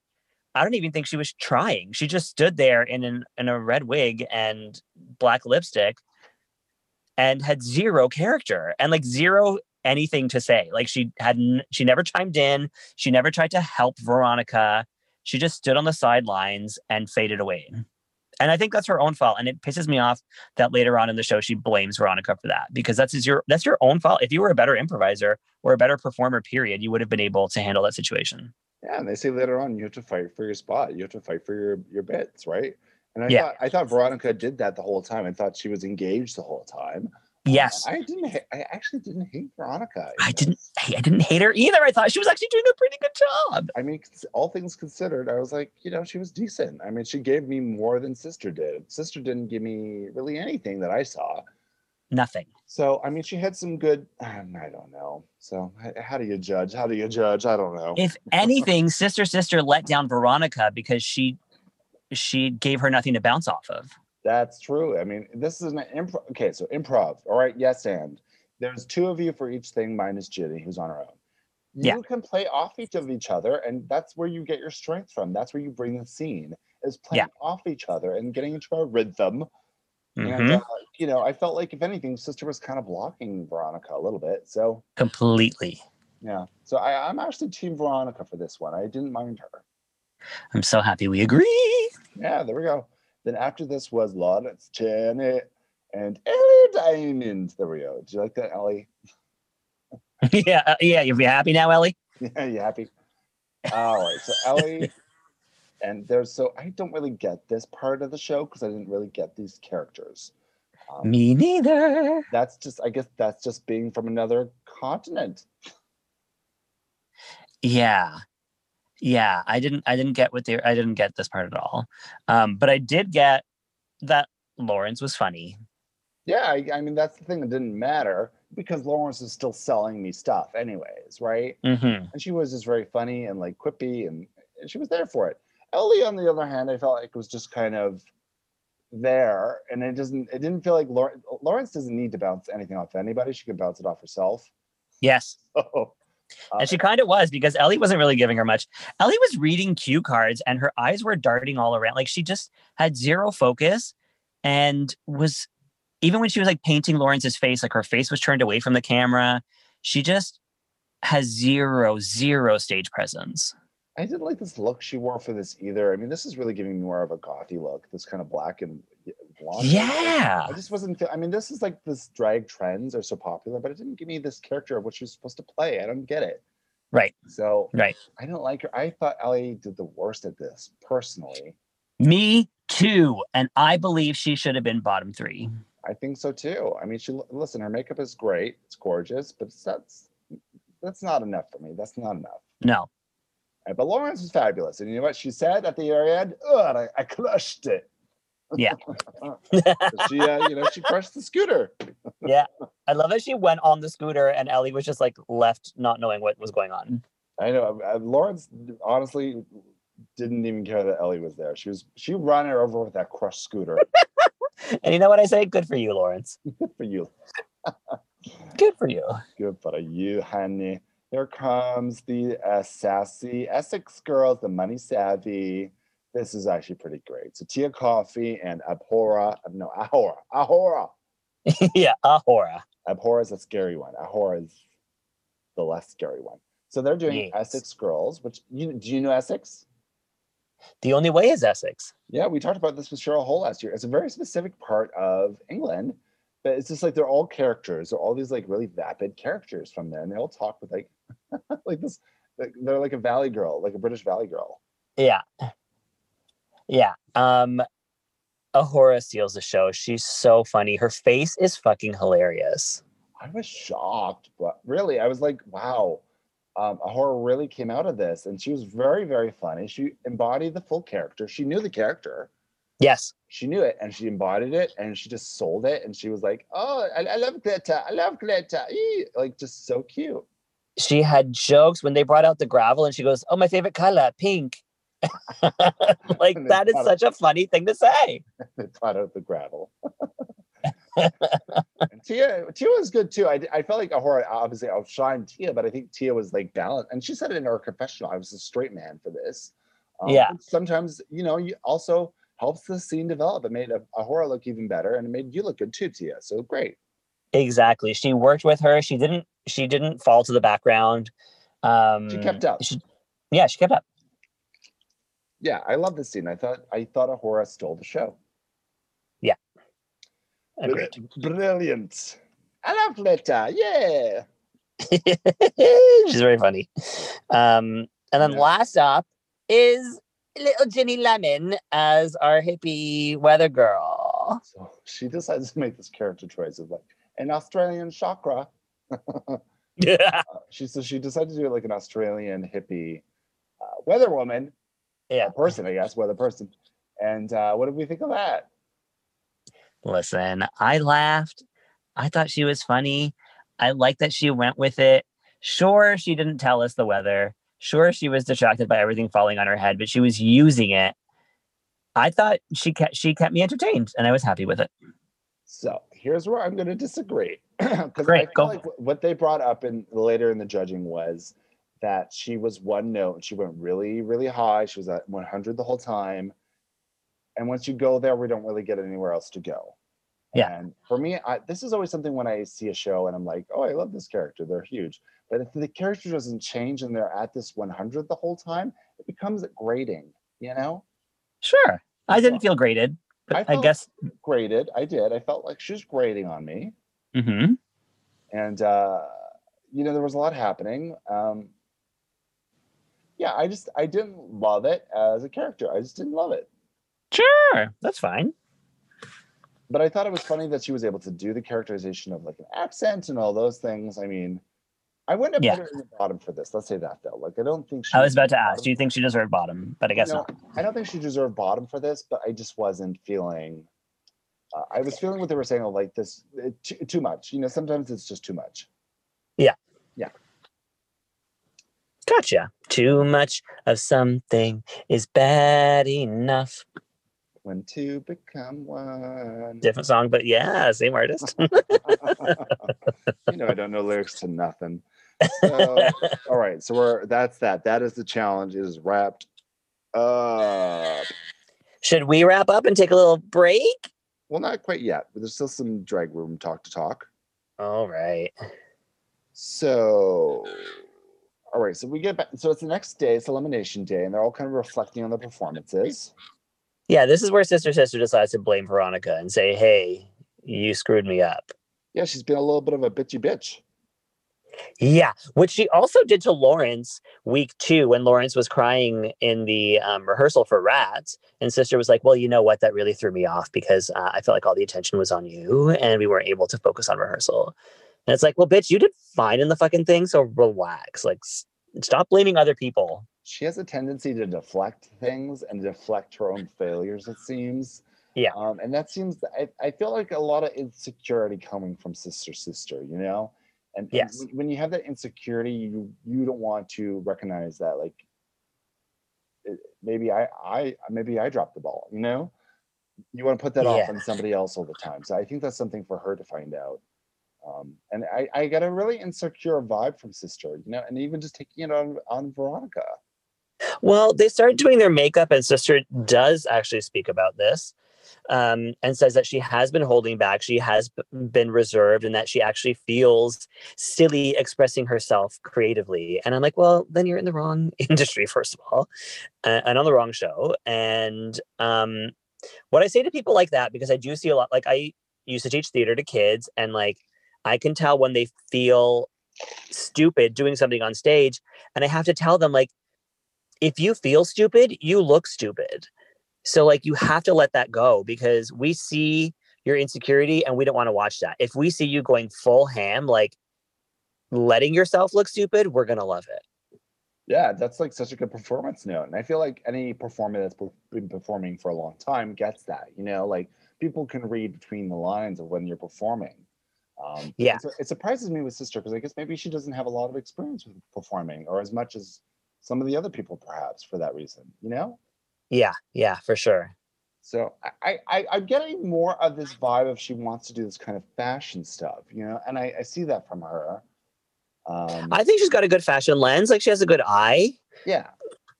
I don't even think she was trying. She just stood there in an in a red wig and black lipstick and had zero character and like zero anything to say. Like she hadn't she never chimed in. She never tried to help Veronica. She just stood on the sidelines and faded away. And I think that's her own fault. And it pisses me off that later on in the show she blames Veronica for that because that's is your that's your own fault. If you were a better improviser or a better performer, period, you would have been able to handle that situation. Yeah, and they say later on you have to fight for your spot. You have to fight for your your bits, right? And I Yeah. thought I thought Veronica did that the whole time. I thought she was engaged the whole time. Yes. I didn't. ha- I actually didn't hate Veronica. in I didn't this. I didn't hate her either. I thought she was actually doing a pretty good job. I mean, cons- all things considered, I was like, you know, she was decent. I mean, she gave me more than Sister did. Sister didn't give me really anything that I saw. Nothing. So, I mean, she had some good. I don't know. So, h- how do you judge? How do you judge? I don't know. If anything, Sister Sister let down Veronica because she she gave her nothing to bounce off of. That's true. I mean, this is an improv. Okay, so improv. All right, yes, and there's two of you for each thing, minus Ginny, who's on her own. You Yeah. can play off each of each other, and that's where you get your strength from. That's where you bring the scene is playing off each other and getting into a rhythm. And Mhm. uh, you know, I felt like if anything, Sister was kind of blocking Veronica a little bit. So Completely. yeah, so I, I'm actually Team Veronica for this one. I didn't mind her. I'm so happy we agree. Yeah, there we go. Then after this was Lawrence Janet and Ellie Diamond. There we go. Did you like that, Ellie? yeah, uh, yeah, you'll be happy now, Ellie. Yeah, you happy? All right. So Ellie and there's so I don't really get this part of the show because I didn't really get these characters. Um, Me neither. That's just I guess that's just being from another continent. Yeah. Yeah, I didn't I didn't get what they I didn't get this part at all. Um but I did get that Lawrence was funny. Yeah, I, I mean that's the thing that didn't matter because Lawrence is still selling me stuff, anyways, right? Mhm. and she was just very funny and like quippy and and she was there for it ellie on the other hand i felt like was just kind of there and it doesn't it didn't feel like Laur- lawrence doesn't need to bounce anything off anybody she could bounce it off herself Yes. oh And she kind of was because Ellie wasn't really giving her much. Ellie was reading cue cards and her eyes were darting all around. Like she just had zero focus and was, even when she was like painting Lawrence's face, like her face was turned away from the camera. She just has zero, zero stage presence. i didn't like this look she wore for this either i mean this is really giving me more of a gothy look this kind of black and blonde Yeah. i just wasn't feel- i mean this is like this drag trends are so popular but it didn't give me this character of what she was supposed to play i don't get it Right. so Right. I didn't like her. I thought Ellie did the worst at this personally. Me too. And I believe she should have been bottom three. I think so too. I mean, she listen, her makeup is great, it's gorgeous, but it's, that's that's not enough for me. That's not enough. No. Uh, But Lawrence was fabulous, and you know what she said at the very end? Ugh, I, I crushed it. Yeah. she, uh, you know, she crushed the scooter. I love that she went on the scooter and Ellie was just like left not knowing what was going on. I know uh, Lawrence honestly didn't even care that Ellie was there. She was she ran her over with that crushed scooter. And you know what I say? Good for you, Lawrence. Good for you, Good for you. Good for you, honey. Here comes the uh, sassy Essex girls, the money savvy. This uh, is actually pretty great. So Tia Coffee and Abhora, no, Ahora, Ahora, yeah, Ahura. Abhor is a scary one. Ahor is the less scary one. So they're doing Yes. Essex Girls, which you do you know Essex? The only way is Essex. Yeah, we talked about this with Cheryl Hole last year. It's a very specific part of England, but it's just like they're all characters. They're all these like really vapid characters from there, and they all talk with like like this. like, They're like a Valley Girl, like a British Valley Girl. Yeah. Yeah. Um Ahura steals the show. She's so funny. Her face is fucking hilarious. I was shocked, but really, I was like, wow, um, Ahura really came out of this, and she was very, very funny. She embodied the full character. She knew the character. Yes. she knew it and she embodied it and she just sold it and she was like, oh, I, I love glitter, I love glitter, ee," like just so cute. She had jokes when they brought out the gravel and she goes, Oh, my favorite color, pink. like And they that is brought such a funny thing to say. They plowed out the gravel. And Tia, Tia was good too. I, I felt like Ahura obviously outshined Tia, but I think Tia was like balanced, and she said it in her confessional. I was a straight man for this. Yeah. and Sometimes you know you also helps the scene develop. It made Ahura look even better, and it made you look good too, Tia. So great. Exactly. She worked with her. She didn't she didn't fall to the background. Um She kept up. she- yeah, she kept up. Yeah, I love this scene. I thought I thought Ahura stole the show. Agreed. Brilliant. I love letter. Yeah. She's very funny. Um, and then Yeah. last up is little Ginny Lemon as our hippie weather girl. So she decides to make this character choice of like an Australian chakra. Yeah. She so she decided to do it like an Australian hippie uh, weather woman, Yeah. or person, I guess, weather person. And uh, what did we think of that? Listen, I laughed. I thought she was funny. I like that she went with it. Sure, she didn't tell us the weather. Sure, she was distracted by everything falling on her head, but she was using it. I thought she kept she kept me entertained, and I was happy with it. So here's where I'm going to disagree. Because I Great, feel go like wh- what they brought up in later in the judging was that she was one note and she went really, really high. She was at 100 the whole time. And once you go there, we don't really get anywhere else to go. Yeah. And for me, I, this is always something when I see a show and I'm like, oh, I love this character. They're huge. But if the character doesn't change and they're at this 100 the whole time, it becomes grating, you know? Sure, I didn't feel graded, I but I, felt- guess. Graded. I did. I felt like she was grating on me. hmm and uh, you know there was a lot happening. Um, yeah, I just I didn't love it as a character. I just didn't love it, Sure, that's fine. but I thought it was funny that she was able to do the characterization of like an accent and all those things. I mean, I wouldn't have Yeah. put her in the bottom for this. Let's say that though. Like I don't think she I was about to bottom. ask, do you think she deserved bottom? But I guess No, not. I don't think she deserved bottom for this, but I just wasn't feeling. Uh, I was feeling what they were saying, of like this it, too, too much. You know, sometimes it's just too much. Gotcha. Too much of something is bad enough. When two become one. Different song, but yeah, same artist. you know, I don't know lyrics to nothing. So, all right, so we're that's that. That is the challenge. It is wrapped up. Should we wrap up and take a little break? Well, not quite yet, but there's still some drag room talk to talk. All right. So, all right, so we get back. So it's the next day. It's elimination day, and they're all kind of reflecting on the performances. Yeah, this is where Sister Sister decides to blame Veronica and say, hey, you screwed me up. Yeah, she's been a little bit of a bitchy bitch. Yeah, which she also did to Lawrence week two when Lawrence was crying in the um, rehearsal for Rats. And Sister was like, Well, you know what? That really threw me off because uh, I felt like all the attention was on you and we weren't able to focus on rehearsal. And it's like, Well, bitch, you did fine in the fucking thing. So relax. Like, s- stop blaming other people. she has a tendency to deflect things and deflect her own failures it seems Yeah. um, and that seems I, I feel like a lot of insecurity coming from sister sister you know and, and Yes. when- when you have that insecurity you you don't want to recognize that like it, maybe i i maybe i dropped the ball you know you want to put that off Yeah. on somebody else all the time so i think that's something for her to find out um, and I, I got a really insecure vibe from sister you know and even just taking it on on veronica Well, they started doing their makeup, and Sister does actually speak about this. um, and says that she has been holding back, she has b- been reserved, and that she actually feels silly expressing herself creatively. And I'm like, well, then you're in the wrong industry, first of all, uh, and on the wrong show. And um, what I say to people like that, because I do see a lot, like I used to teach theater to kids, and like I can tell when they feel stupid doing something on stage, and I have to tell them, like, if you feel stupid, you look stupid. So like you have to let that go because we see your insecurity and we don't want to watch that. If we see you going full ham, like letting yourself look stupid, we're gonna love it. Yeah, that's like such a good performance note. And I feel like any performer that's per- been performing for a long time gets that. You know, like people can read between the lines of when you're performing. Um, Yeah. and so it surprises me with Sister because I guess maybe she doesn't have a lot of experience with performing or as much as some of the other people, perhaps for that reason, you know? Yeah, yeah, for sure. So I, I I'm getting more of this vibe of she wants to do this kind of fashion stuff, you know, and I, I see that from her. Um, I think she's got a good fashion lens. Like she has a good eye. yeah,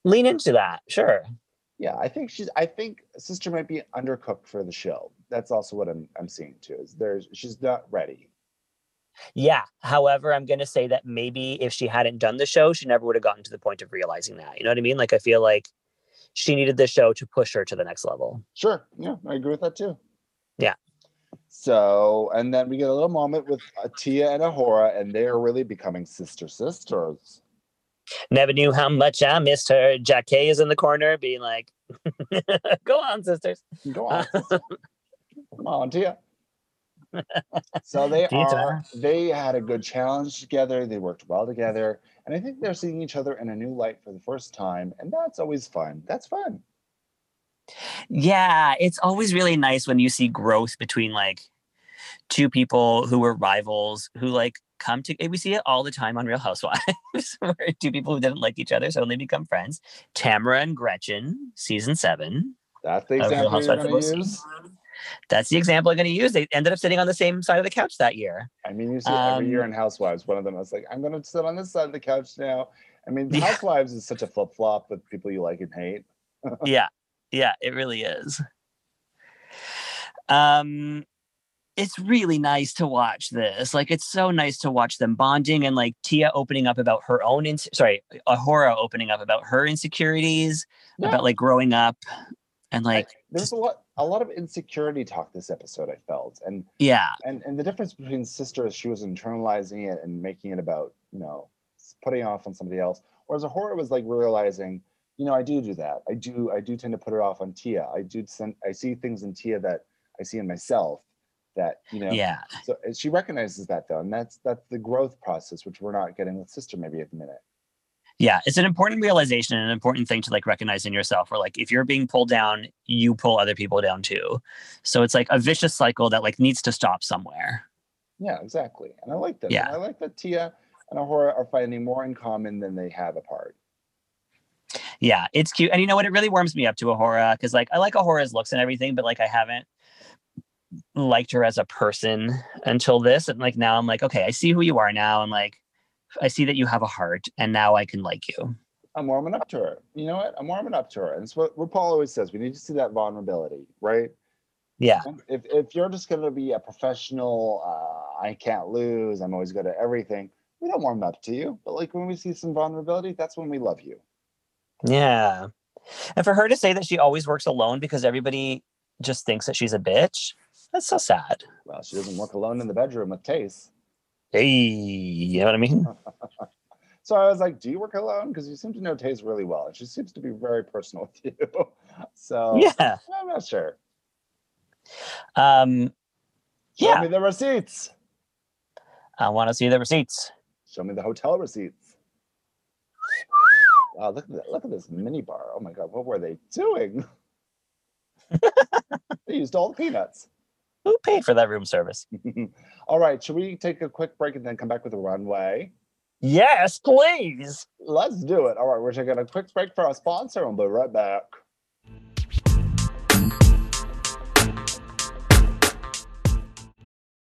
Lean into that. Sure. yeah. I think she's. I think sister might be undercooked for the show. That's also what I'm I'm seeing too. Is there's she's not ready. Yeah. However, I'm gonna say that maybe if she hadn't done the show, she never would have gotten to the point of realizing that. You know what I mean? Like I feel like she needed the show to push her to the next level. Sure. Yeah, I agree with that too. Yeah. So, and then we get a little moment with Atia and Ahura, and they are really becoming sister sisters. Never knew how much I missed her. Jack K is in the corner being like, go on, sisters. Go on. sister. Come on, Tia. so they Tia. are they had a good challenge together, they worked well together, and I think they're seeing each other in a new light for the first time, and that's always fun. That's fun. Yeah, it's always really nice when you see growth between like two people who were rivals who like come to we see it all the time on Real Housewives where two people who didn't like each other suddenly become friends. Tamara and Gretchen, season seven. That's the of Real example you're Housewives of gonna Los use. Angeles. That's the example I'm gonna use. They ended up sitting on the same side of the couch that year. I mean, you see it every year Um, in Housewives, one of them was like, I'm gonna sit on this side of the couch now. I mean, Yeah. Housewives is such a flip flop with people you like and hate. yeah yeah it really is um it's really nice to watch this like it's so nice to watch them bonding and like tia opening up about her own ins- sorry ahura opening up about her insecurities Yeah. about like growing up and like There's a lot a lot of insecurity talk this episode, I felt. And yeah and and the difference between sisters, she was internalizing it and making it about you know s- putting it off on somebody else, whereas a horror was like realizing, you know, I do do that. I do I do tend to put it off on Tia. I do send, I see things in Tia that I see in myself that you know. yeah So and she recognizes that though, and that's that's the growth process which we're not getting with sister maybe at the minute. yeah it's an important realization and an important thing to like recognize in yourself where like if you're being pulled down you pull other people down too so it's like a vicious cycle that like needs to stop somewhere Yeah, exactly. And I like that. Yeah. And I like that Tia and Ahura are finding more in common than they have apart. Yeah, it's cute. And you know what? It really warms me up to Ahura because like I like Ahura's looks and everything, but like I haven't liked her as a person until this. And like now I'm like, okay, I see who you are now. And like I see that you have a heart and now I can like you. I'm warming up to her. You know what? I'm warming up to her. And it's what RuPaul always says. We need to see that vulnerability, right? Yeah. If, if you're just going to be a professional, uh, I can't lose, I'm always good at everything, we don't warm up to you. But like when we see some vulnerability, that's when we love you. Yeah. And for her to say that she always works alone because everybody just thinks that she's a bitch, that's so sad. Well, she doesn't work alone in the bedroom with Case. Hey, you know what I mean? So I was like, do you work alone? Because you seem to know Taze really well. And she seems to be very personal with you. so Yeah. I'm not sure. Um, Show Yeah. me the receipts. I want to see the receipts. Show me the hotel receipts. Wow, look at that. Look at this mini bar. Oh my god, what were they doing? they used all the peanuts. Who paid for that room service? all right, should we take a quick break and then come back with the runway? Yes, please. Let's do it. All right, we're taking a quick break for our sponsor and we'll be right back.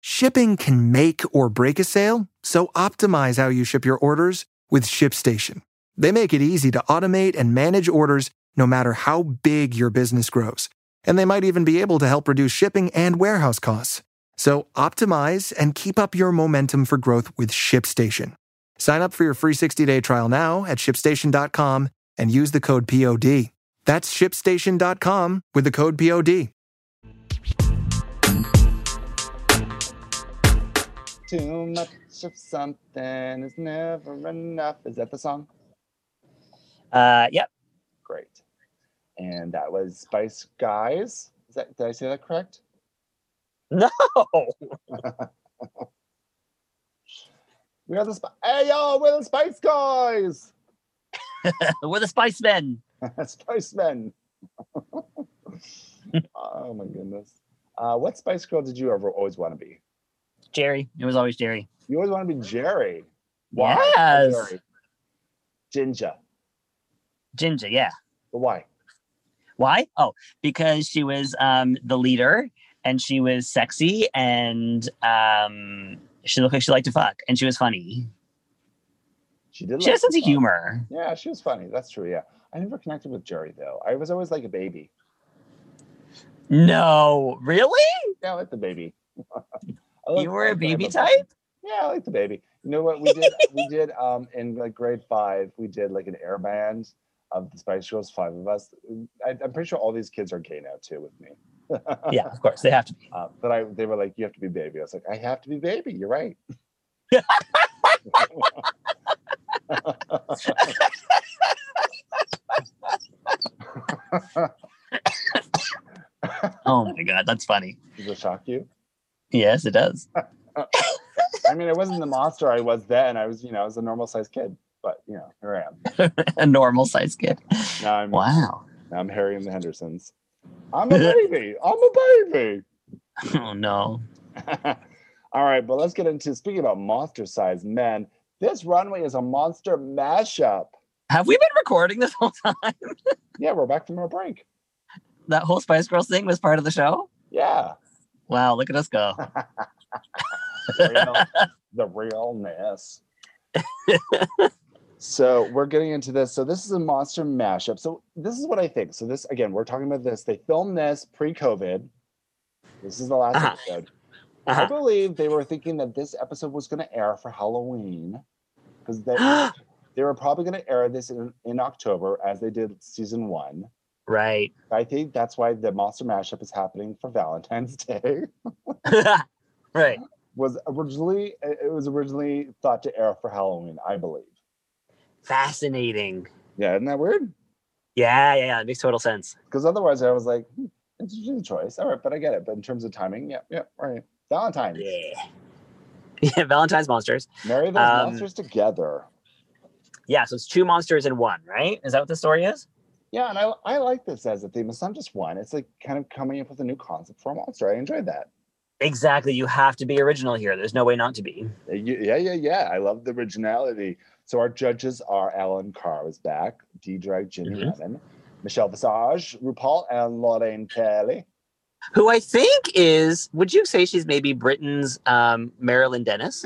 Shipping can make or break a sale, so optimize how you ship your orders with ShipStation. They make it easy to automate and manage orders no matter how big your business grows. and they might even be able to help reduce shipping and warehouse costs. So optimize and keep up your momentum for growth with ShipStation. Sign up for your free 60-day trial now at shipstation.com and use the code POD. That's shipstation.com with the code POD. Too much of something is never enough. Is that the song? Uh, yep. Great. And that was Spice Guys. Is that did I say that correct? Oh, We are the Sp- Hey y'all, we're the Spice Guys. we're the Spice Men. Spice Men. oh my goodness. Uh, what Spice Girl did you ever always want to be? Jerry. It was always Jerry. You always want to be Jerry. Yes. Jerry? Ginger. Ginger. Yeah. But why? Why? Oh, because she was um, the leader and she was sexy and um, she looked like she liked to fuck and she was funny. She did. She had a like sense of fun. humor. Yeah, she was funny. That's true. Yeah, I never connected with Jerry though. I was always like a baby. No, really? Yeah, I like the baby. I like- You were I a like baby the- type? Yeah, I like the baby. You know what we did? we did um in like grade five. We did like an air band of the Spice Girls. Five of us. I, I'm pretty sure all these kids are gay now too with me. Yeah, of course. They have to be. Uh, but I, they were like, "You have to be baby." I was like, "I have to be baby." You're right. Oh my God, that's funny. Does it shock you? Yes, it does. I mean, I wasn't the monster I was then. I was, you know, I was a normal sized kid. But you know, here I am. a normal size kid. Now I'm, Wow. now I'm Harry and the Hendersons. I'm a baby. I'm a baby. Oh no. All right, but let's get into speaking about monster sized men. This runway is a monster mashup. Have we been recording this whole time? Yeah, we're back from our break. That whole Spice Girls thing was part of the show? Yeah. Wow, look at us go. Real, the realness. so we're getting into this. So this is a monster mashup. So this is what I think. So this again, we're talking about this. They filmed this pre-COVID. This is the last Uh-huh. episode. I Uh-huh. believe they were thinking that this episode was going to air for Halloween because they, they were probably going to air this in, in October as they did season one. Right. I think that's why the monster mashup is happening for Valentine's Day. right. Was originally it it was originally thought to air for Halloween, I believe. Fascinating. Yeah, isn't that weird? Yeah, yeah, yeah. It makes total sense. Because otherwise, I was like, hmm, interesting choice. All right, but I get it. But in terms of timing, yeah, yeah, all right. Valentine's, Yeah. Yeah, Valentine's monsters. marry those Um, monsters together. Yeah, so it's two monsters in one, right? Is that what the story is? Yeah, and I, I like this as a theme. It's not just one. It's like kind of coming up with a new concept for a monster. I enjoyed that. Exactly. You have to be original here. There's no way not to be. Uh, you- Yeah, yeah, yeah. I love the originality. So our judges are Alan Carr was back, D Drag Ginny Mhm. Lemon, Michelle Visage, RuPaul, and Lorraine Kelly. Who I think is, would you say she's maybe Britain's um, Marilyn Dennis?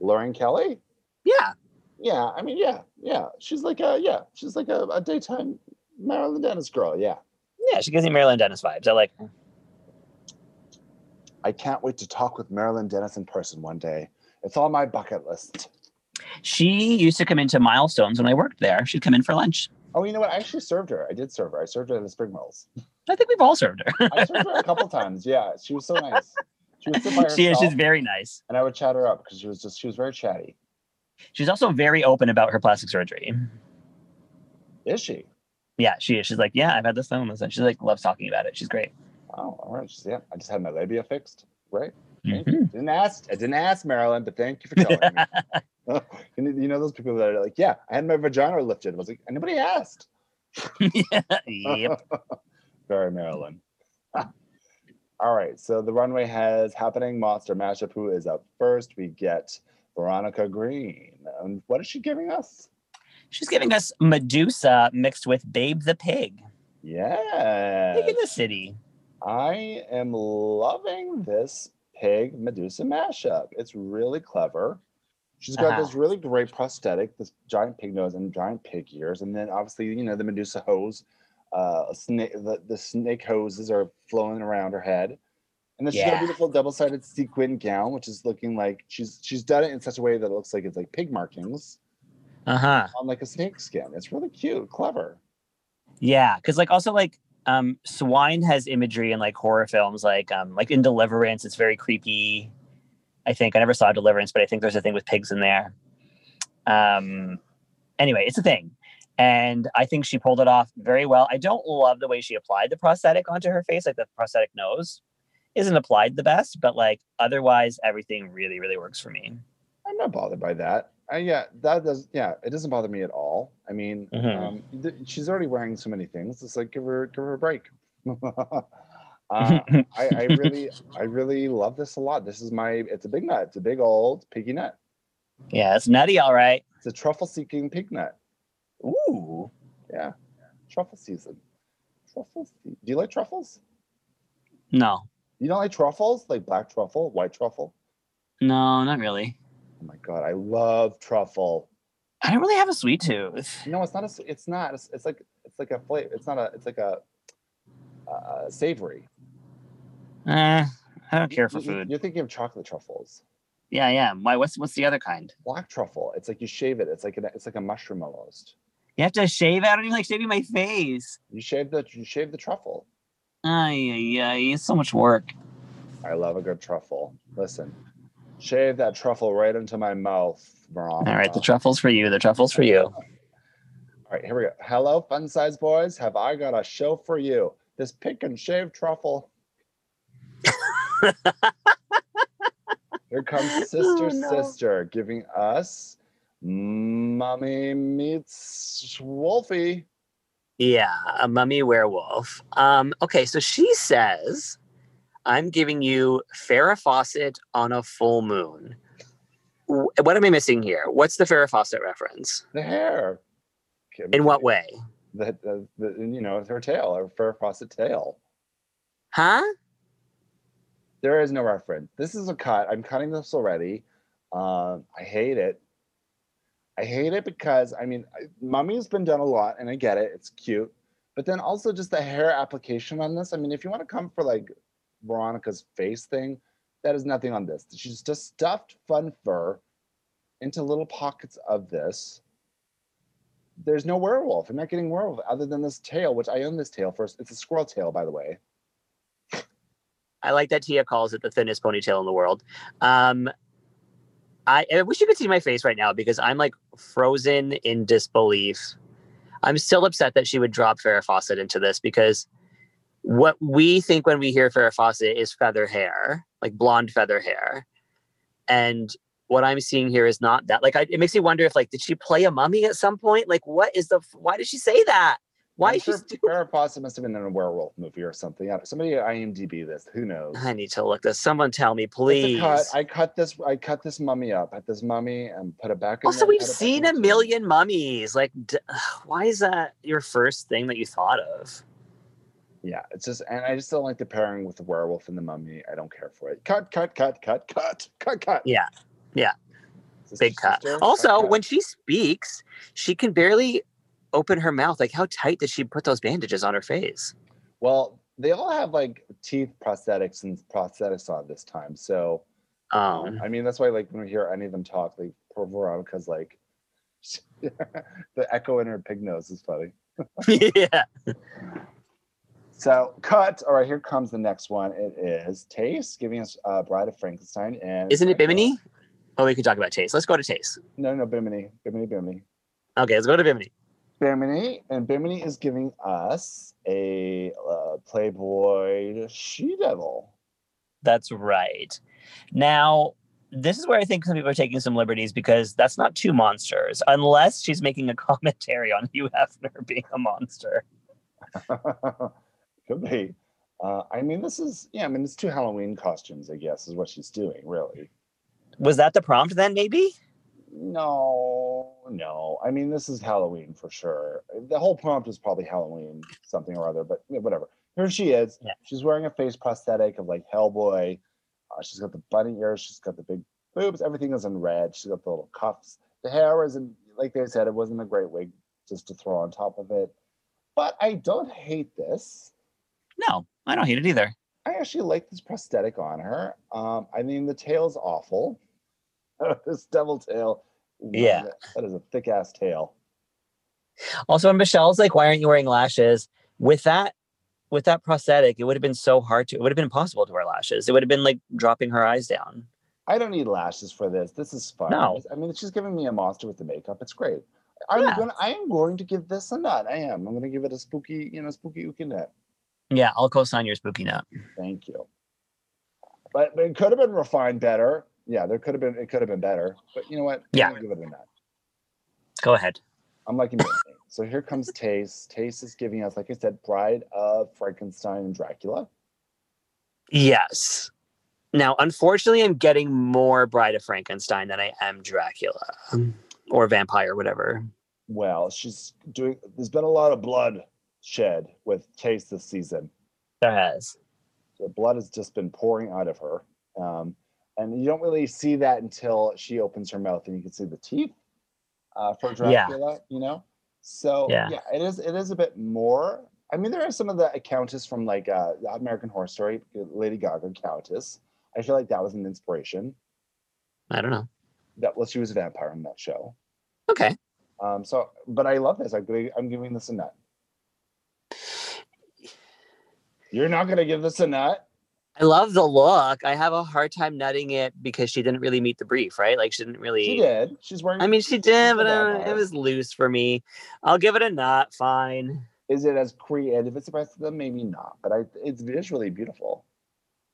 Lauren Kelly? Yeah. Yeah, I mean, yeah, yeah. She's like a yeah, she's like a, a daytime Marilyn Dennis girl. Yeah. Yeah, she gives me Marilyn Dennis vibes. I like her. I can't wait to talk with Marilyn Dennis in person one day. It's on my bucket list. She used to come into Milestones when I worked there. She'd come in for lunch. Oh, you know what? I actually served her. I did serve her. I served her at the Spring Mills. I think we've all served her. I served her a couple times. Yeah, she was so nice. She was sit by herself, she is, she's very nice. and I would chat her up because she was just she was very chatty. She's also very open about her plastic surgery. Is she? Yeah, she is. She's like, yeah, I've had this done. She like loves talking about it. She's great. Oh, all right. She's, yeah, I just had my labia fixed. Right? Thank Mhm. you. Didn't ask. I didn't ask Marilyn, but thank you for telling me. you, know, you know those people that are like, yeah, I had my vagina lifted. I was like, anybody asked? yep. Very Marilyn. All right, so the runway has happening monster mashup. Who is up first? We get Veronica Green. And what is she giving us? She's giving us Medusa mixed with Babe the Pig. Pig Yeah, in the city. I am loving this pig Medusa mashup. It's really clever. She's got Uh-huh. this really great prosthetic, this giant pig nose and giant pig ears, and then obviously you know the Medusa hose Uh, a snake, the, the snake hoses are flowing around her head. And then she's got Yeah. a beautiful double-sided sequin gown, which is looking like she's she's done it in such a way that it looks like it's like pig markings Uh huh. on like a snake skin. It's really cute, clever. Yeah, because like also like um swine has imagery in like horror films, like um like in Deliverance, it's very creepy. I think I never saw Deliverance, but I think there's a thing with pigs in there. Um, anyway, it's a thing, and I think she pulled it off very well. I don't love the way she applied the prosthetic onto her face, like the prosthetic nose isn't applied the best, but like otherwise everything really really works for me. I'm not bothered by that. Uh, yeah, that does. Yeah, it doesn't bother me at all. I mean, Mhm. um, th- she's already wearing so many things. It's like give her give her a break. uh, Um, I, I really, I really love this a lot. This is my. It's a big nut. It's a big old piggy nut. Yeah, it's nutty, all right. It's a truffle-seeking pig nut. Ooh, Yeah, truffle season. Truffles. Do you like truffles? no, You don't like truffles? Like black truffle, white truffle? no, not really. Oh my god, I love truffle. I don't really have a sweet tooth. No, it's not a. s- It's not. It's, it's like it's like a flavor. It's not a. It's like a uh, savory. Uh, I don't You- care for you- food. You're thinking of chocolate truffles, Yeah, yeah. Why? What's what's the other kind? black truffle. It's like you shave it. It's like an, it's like a mushroom almost. You have to shave. I don't even like shaving my face. You shave the you shave the truffle. Ay, yeah, it's so much work. I love a good truffle. Listen, shave that truffle right into my mouth, Mom. All right, the truffle's for you. The truffle's for you. All right, here we go. Hello, fun size boys. Have I got a show for you? This pick and shave truffle. here comes sister, Oh, no. sister, giving us mommy meets Wolfie. Yeah, a mummy werewolf. Um, okay, so she says, "I'm giving you Farrah Fawcett on a full moon." W- What am I missing here? What's the Farrah Fawcett reference? The hair. In what way? The, the, the- you know, her tail, her fur faucet tail. Huh? There is no reference. This is a cut. I'm cutting this already. Um, I hate it. I hate it because I mean, I- mummy's been done a lot, and I get it. It's cute, but then also just the hair application on this. I mean, if you want to come for like Veronica's face thing, that is nothing on this. She's just stuffed fun fur into little pockets of this. There's no werewolf. I'm not getting werewolf other than this tail, which I own this tail first. It's a squirrel tail, by the way. I like that Tia calls it the thinnest ponytail in the world. Um, I, I wish you could see my face right now because I'm like frozen in disbelief. I'm still upset that she would drop Farrah Fawcett into this because what we think when we hear Farrah Fawcett is feather hair, like blonde feather hair. And what I'm seeing here is not that. Like, I, it makes me wonder if, like, did she play a mummy at some point? Like, what is the? Why did she say that? Why I'm is she? sure stu- Farrah Fawcett must have been in a werewolf movie or something. I don't- Somebody at IMDb this. Who knows? I need to look this. Someone tell me, It's Ah, please. a cut. I cut this. I cut this mummy up. At this mummy and put it back. in Also, there, we've cut it back seen in a there. million mummies. Like, d- ugh, why is that your first thing that you thought of? Yeah, it's just, and I just don't like the pairing with the werewolf and the mummy. I don't care for it. Cut, cut, cut, cut, cut, cut, cut. Yeah, yeah. Sister, Big cut. sister, Also, cut, when she speaks, she can barely open her mouth. Like, how tight did she put those bandages on her face? cut. well, they all have like teeth prosthetics and prosthetics on this time. So, Um, I mean, that's why like when we hear any of them talk, like poor Veronica's like the echo in her pig nose is funny. yeah. So cut. All right, here comes the next one. It is Taste giving us uh, Bride of Frankenstein, and Isn't it Bimini? Oh, we could talk about Chase. Let's go to Chase. No, no, Bimini, Bimini, Bimini, Okay, let's go to Bimini. Bimini, and Bimini is giving us a uh, Playboy she devil. That's right. Now, this is where I think some people are taking some liberties because that's not two monsters, unless she's making a commentary on Hugh Hefner being a monster. Could be. Uh, I mean, this is yeah. I mean, it's two Halloween costumes, I guess, is what she's doing, really. Was that the prompt then, maybe? No, no. I mean, this is Halloween for sure. The whole prompt was probably Halloween something or other, but yeah, whatever. Here she is. Yeah. She's wearing a face prosthetic of like Hellboy. Uh, she's got the bunny ears. She's got the big boobs. Everything is in red. She's got the little cuffs. The hair isn't like they said. It wasn't a great wig just to throw on top of it. But I don't hate this. No, I don't hate it either. I actually like this prosthetic on her. Um, I mean, the tail's awful. this devil tail. love Yeah. it. That is a thick ass tail. Also, when Michelle's like, "Why aren't you wearing lashes?" with that, with that prosthetic, it would have been so hard to. It would have been impossible to wear lashes. It would have been like dropping her eyes down. I don't need lashes for this. This is fun. No. I mean, she's giving me a monster with the makeup. It's great. I'm Yeah. gonna. I am going to give this a nut. I am. I'm going to give it a spooky, you know, spooky ookie nut. Yeah, I'll co-sign your spooky note. Thank you. But, but it could have been refined better. Yeah, there could have been. It could have been better. But you know what? I'm Yeah. gonna give it a nut. Go ahead. I'm liking it. so here comes Taste. Taste is giving us, like I said, Bride of Frankenstein and Dracula. Yes. Now, unfortunately, I'm getting more Bride of Frankenstein than I am Dracula or vampire, whatever. Well, she's doing. There's been a lot of blood shed with Taste this season. There has. the blood has just been pouring out of her. Um, and you don't really see that until she opens her mouth and you can see the teeth uh, for Yeah. Dracula, you know? So yeah. Yeah. it is it is a bit more. I mean, there are some of the countess from like uh, the American Horror Story, Lady Gaga Countess. I feel like that was an inspiration. I don't know. That well, she was a vampire in that show. Okay. Um, so, but I love this. I'm giving, I'm giving this a nut. You're not gonna give this a nut. I love the look. I have a hard time nutting it because she didn't really meet the brief, right? Like she didn't really. She did. She's wearing. I mean, she She's did, a but uh, vampire. it was loose for me. I'll give it a not. Fine. is it as creative as the rest of them? Maybe not, but I, it's visually beautiful.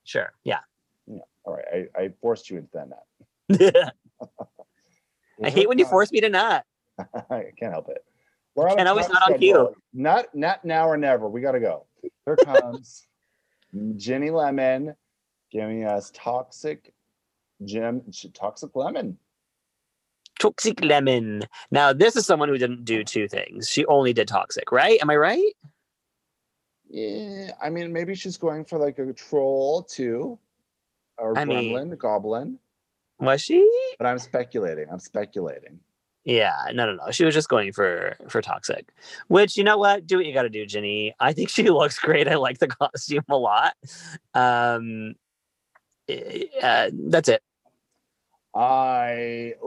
Sure. Yeah. All right, I, I forced you into that nut. Uh, I Here's hate our when you time. force me to not. I can't help it. We're on a Can't always time not on schedule. cue. Not not now or never. We gotta go. Here comes Jenny Lemon giving us toxic gem toxic lemon. Toxic lemon. Now, this is someone who didn't do two things. She only did toxic, right? Am I right? Yeah, I mean maybe she's going for like a troll too. Or I mean- gremlin, goblin. Was she? But I'm speculating. I'm speculating. Yeah, no, no, no. She was just going for for toxic, which you know what? Do what you got to do, Ginny. I think she looks great. I like the costume a lot. Um, eh, uh, that's it. I like.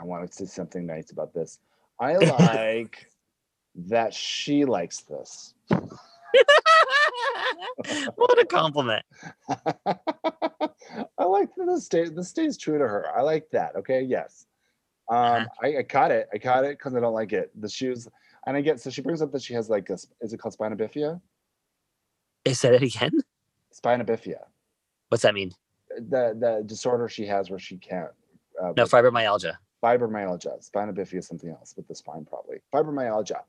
I want to say something nice about this. I like that she likes this. what a compliment. I like that this stays this stays true to her. I like that. Okay, yes. Um, Uh-huh. I, I caught it. I caught it because I don't like it. The shoes, and I get so she brings up that she has like a sp- is it called spinobifia? I said it again. Spinobifia, What's that mean? the the disorder she has where she can't. Uh, No, with fibromyalgia. fibromyalgia. Spinobifia is something else with the spine, probably. Fibromyalgia.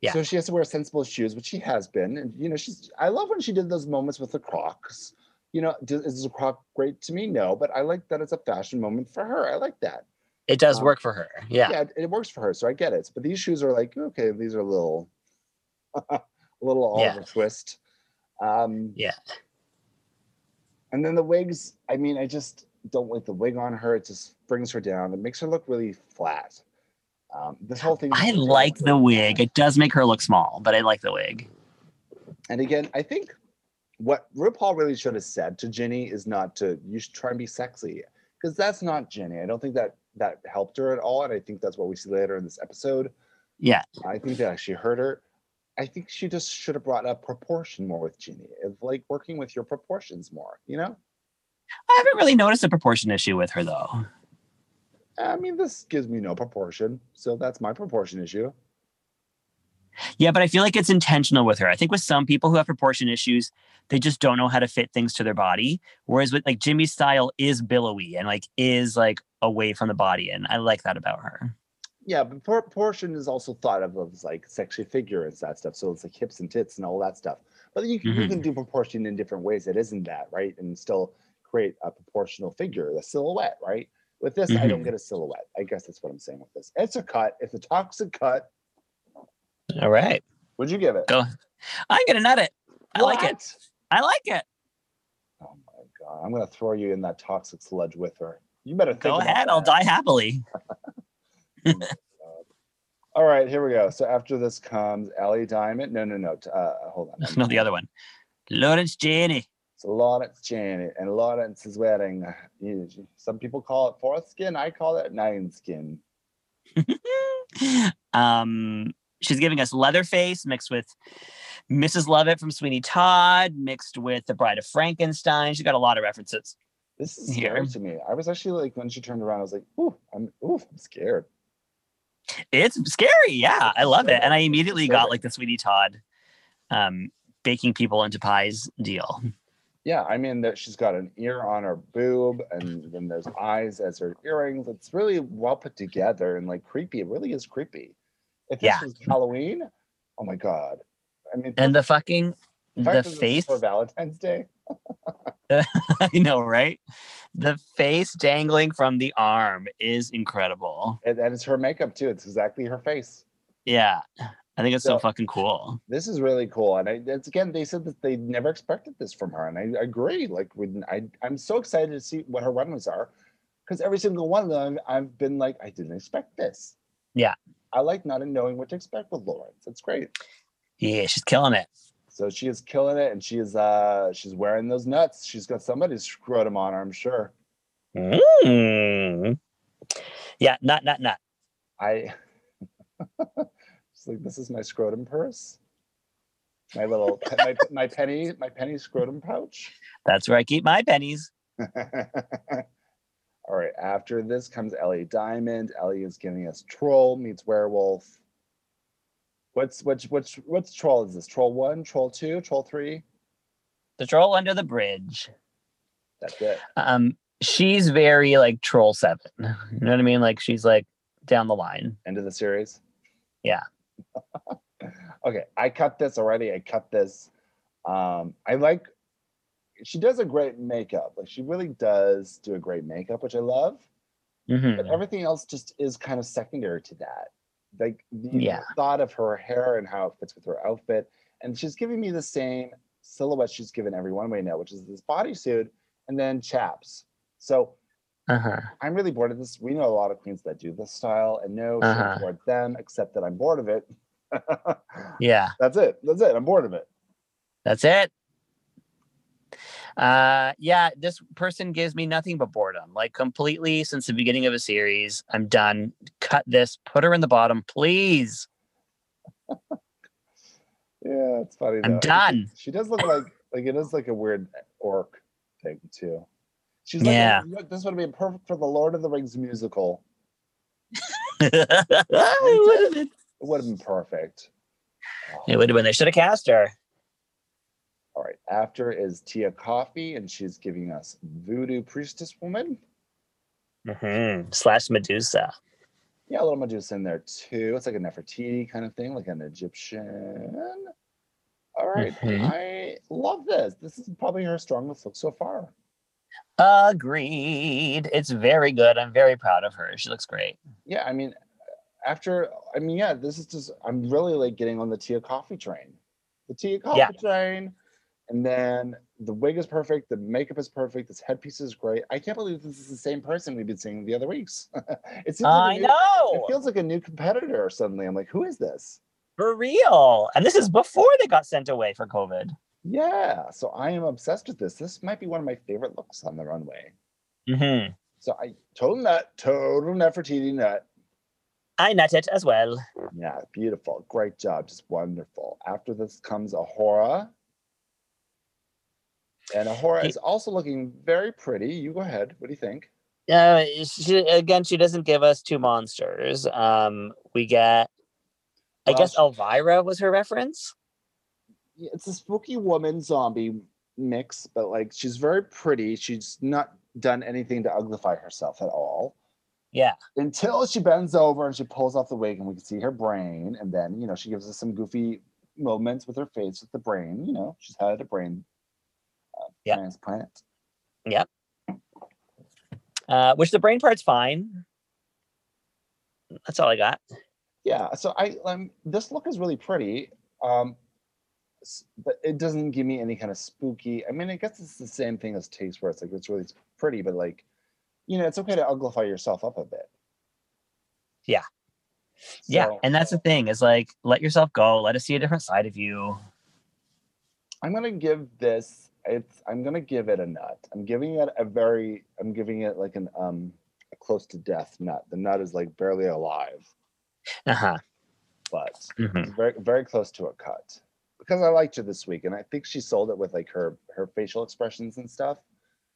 Yeah. So she has to wear sensible shoes, which she has been. And you know, she's. I love when she did those moments with the Crocs. You know, d- is the Croc great to me? No, but I like that it's a fashion moment for her. I like that. It does Um, work for her. Yeah. Yeah, it, it works for her, so I get it. But these shoes are like okay, these are a little, a little all Yeah. over twist. Um, Yeah. And then the wigs. I mean, I just don't like the wig on her. It just brings her down. It makes her look really flat. Um, this whole thing. I like the wig. It does make her look small, but I like the wig. And again, I think what RuPaul really should have said to Ginny is not to you should try and be sexy because that's not Ginny. I don't think that that helped her at all, and I think that's what we see later in this episode. Yeah. I think that actually hurt her. I think she just should have brought up proportion more with Ginny, of like working with your proportions more. You know, I haven't really noticed a proportion issue with her though. I mean, this gives me no proportion, so that's my proportion issue. Yeah, but I feel like it's intentional with her. I think with some people who have proportion issues, they just don't know how to fit things to their body. Whereas with like Jimmy's style is billowy and like is like away from the body. And I like that about her. Yeah, but proportion is also thought of as like sexy figure and that stuff. So it's like hips and tits and all that stuff. But you can, you Mhm. can do proportion in different ways. It isn't that right, and still create a proportional figure, a silhouette, right? With this, I don't Mhm. get a silhouette. I guess that's what I'm saying with this. It's a cut. It's a toxic cut. All right. Would you give it? Go. I'm gonna nut it. I like it. What? I like it. Oh my god! I'm gonna throw you in that toxic sludge with her. You better think Go about ahead. I'll that. die happily. All right, here we go. So after this comes Ellie Diamond. No, no, no. t- Uh, hold on. Not the other one. Lawrence Janey. It's Lawrence Janet, and Lawrence is wearing. you- Some people call it foreskin. I call it nine skin. um, she's giving us Leatherface mixed with Mrs. Lovett from Sweeney Todd, mixed with The Bride of Frankenstein. She's got a lot of references. This is scary Here. to me. I was actually like when she turned around, I was like, "Ooh, I'm, ooh, I'm scared." It's scary. Yeah, I love it. And I immediately got Disturbing. like the Sweeney Todd um, baking people into pies deal. Yeah, I mean that she's got an ear on her boob, and then there's eyes as her earrings. It's really well put together and like creepy. It really is creepy. If this Yeah. was Halloween, oh my god! I mean, And the fucking the fact the that this is face for Valentine's Day. I know, right? The face dangling from the arm is incredible. And that is her makeup too. It's exactly her face. Yeah. I think it's Yeah. so fucking cool. This is really cool, and I, it's again they said that they never expected this from her, and I agree. Like, when I I'm so excited to see what her runways are, because every single one of them I've been like I didn't expect this. Yeah. I like not knowing what to expect with Lawrence. It's great. Yeah, she's killing it. So she is killing it, and she is uh she's wearing those nuts. She's got somebody's scrotum on her, I'm sure. Mm. Yeah, not, not, not. I it's like this is my scrotum purse, my little pe- my, my penny my penny scrotum pouch. That's where I keep my pennies. All right. After this comes Ellie Diamond. Ellie is giving us troll meets werewolf. What's which which what's troll is this? Troll one, troll two, troll three. The troll under the bridge. That's it. Um, she's very like troll seven. You know what I mean? Like she's like down the line. End of the series. Yeah. okay, I cut this already. I cut this. Um, I like. She does a great makeup. Like she really does do a great makeup, which I love. But Mhm. everything else just is kind of secondary to that. Like the Yeah. thought of her hair and how it fits with her outfit, and she's giving me the same silhouette she's given everyone we know, which is this bodysuit and then chaps. So Uh-huh. I'm really bored of this. We know a lot of queens that do this style, and no shade Uh-huh. toward them, except that I'm bored of it. Yeah. That's it. That's it. I'm bored of it. That's it. Uh yeah, this person gives me nothing but boredom. Like completely since the beginning of a series. I'm done. Cut this. Put her in the bottom, please. Yeah, it's funny. I'm though. done. She does look like like it is like a weird orc thing too. She's like, Yeah. "Oh, look, this would have been perfect for the Lord of the Rings musical. it would have been. It would have been perfect. It would have been. They should have cast her. Oh, All right. After is Tia Coffee, and she's giving us Voodoo Priestess Woman. hmm Slash Medusa. Yeah, a little Medusa in there too. It's like a Nefertiti kind of thing, like an Egyptian. All right, Mhm. I love this. This is probably her strongest look so far. Agreed. It's very good. I'm very proud of her. She looks great. Yeah, I mean, after I mean, yeah, this is just I'm really like getting on the Tia Coffee train, the Tia Coffee Yeah. train, and then the wig is perfect, the makeup is perfect, this headpiece is great. I can't believe this is the same person we've been seeing the other weeks. it seems like I a new, It know. feels like a new competitor suddenly. I'm like, who is this? For real. And this is before they got sent away for COVID. Yeah, so I am obsessed with this. This might be one of my favorite looks on the runway. hmm So I total nut, total Nefertiti nut. I nut it as well. Yeah, beautiful, great job, just wonderful. After this comes Ahura, and Ahura Ye- is also looking very pretty. You go ahead. What do you think? uh she, again she doesn't give us two monsters um we get i Well, guess she- elvira was her reference Yeah, It's a spooky woman zombie mix, but like she's very pretty. She's not done anything to uglify herself at all. yeah until she bends over and she pulls off the wig and we can see her brain and then you know she gives us some goofy moments with her face with the brain you know she's had a brain uh, Yep. transplant uh which the brain part's fine that's all i got yeah so i um, this look is really pretty um s- but it doesn't give me any kind of spooky i mean i guess it's the same thing as taste where it's like it's really pretty but like you know it's okay to uglify yourself up a bit Yeah. yeah, So, and that's the thing is like let yourself go, let us see a different side of you. I'm gonna give this. It's. I'm gonna give it a nut. I'm giving it a very. I'm giving it like an um a close to death nut. The nut is like barely alive, Uh huh. but Mm-hmm. it's very very close to a cut because I liked her this week, and I think she sold it with like her her facial expressions and stuff.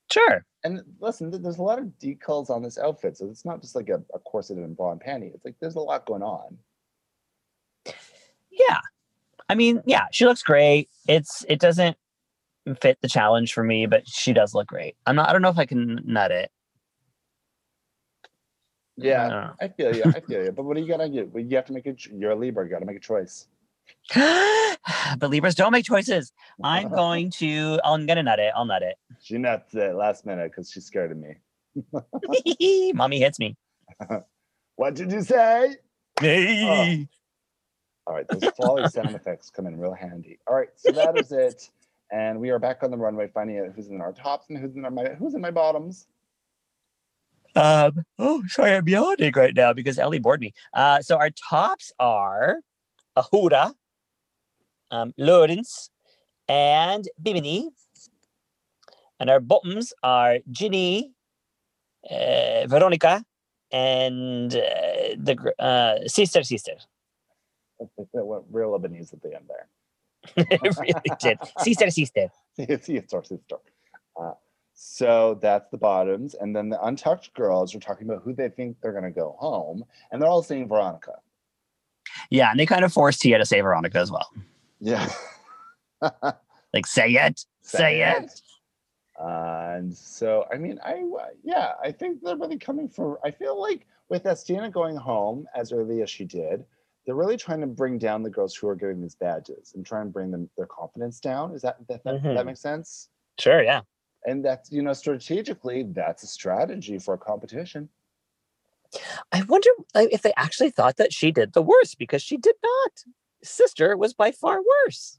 Sure. And listen, th- there's a lot of decals on this outfit, so it's not just like a, a corset and bra and panty. It's like there's a lot going on. Yeah. I mean, yeah, she looks great. It's it doesn't fit the challenge for me, but she does look great. I'm not. I don't know if I can nut it. Yeah, Uh, I feel you. I feel you. But what are you gonna do? Well, You have to make a. ch- You're a Libra. You gotta make a choice. but Libras don't make choices. I'm going to. I'm gonna nut it. I'll nut She nuts it last minute because she's scared of me. it. Mommy hits me. What did you say? Hey. All right, those flawless sound effects come in real handy. All right, so that is it, and we are back on the runway, finding out who's in our tops and who's in our my, who's in my bottoms. Um, oh, sorry, I'm yawning right now because Ellie bored me. Uh, so our tops are Ahura, um, Lawrence, and Bimini. And our bottoms are Ginny, uh, Veronica, and uh, the gr- uh, sister, sister. That went real Lebanese at the end there. it really did. Sister, sister. it's it's our sister. Uh, so that's the bottoms, and then the untucked girls are talking about who they think they're gonna go home, and they're all saying Veronica. Yeah, and they kind of forced Tia to say Veronica as well. Yeah. Like, say it, say, it. Uh, And so, I mean, I uh, yeah, I think they're really coming for. I feel like with Estina going home as early as she did, they're really trying to bring down the girls who are getting these badges and try and bring them their confidence down. Is that that, that, that Mhm. makes sense? Sure, yeah. And that's you know strategically, that's a strategy for a competition. I wonder like, if they actually thought that she did the worst because she did not. Sister was by far worse.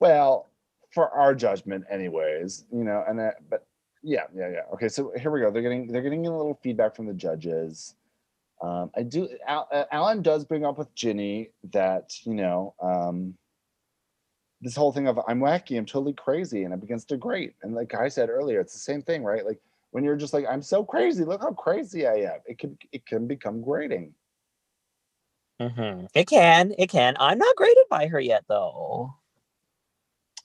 Well, for our judgment, anyways, you know, and uh, but yeah, yeah, yeah. Okay, so here we go. They're getting they're getting a little feedback from the judges. Um, I do. Al, uh, Alan does bring up with Ginny that you know um, this whole thing of I'm wacky, I'm totally crazy, and I'm against a great. And like I said earlier, it's the same thing, right? Like when you're just like I'm so crazy, look how crazy I am. It can it can become grating. Mm-hmm. It can, it can. I'm not graded by her yet, though.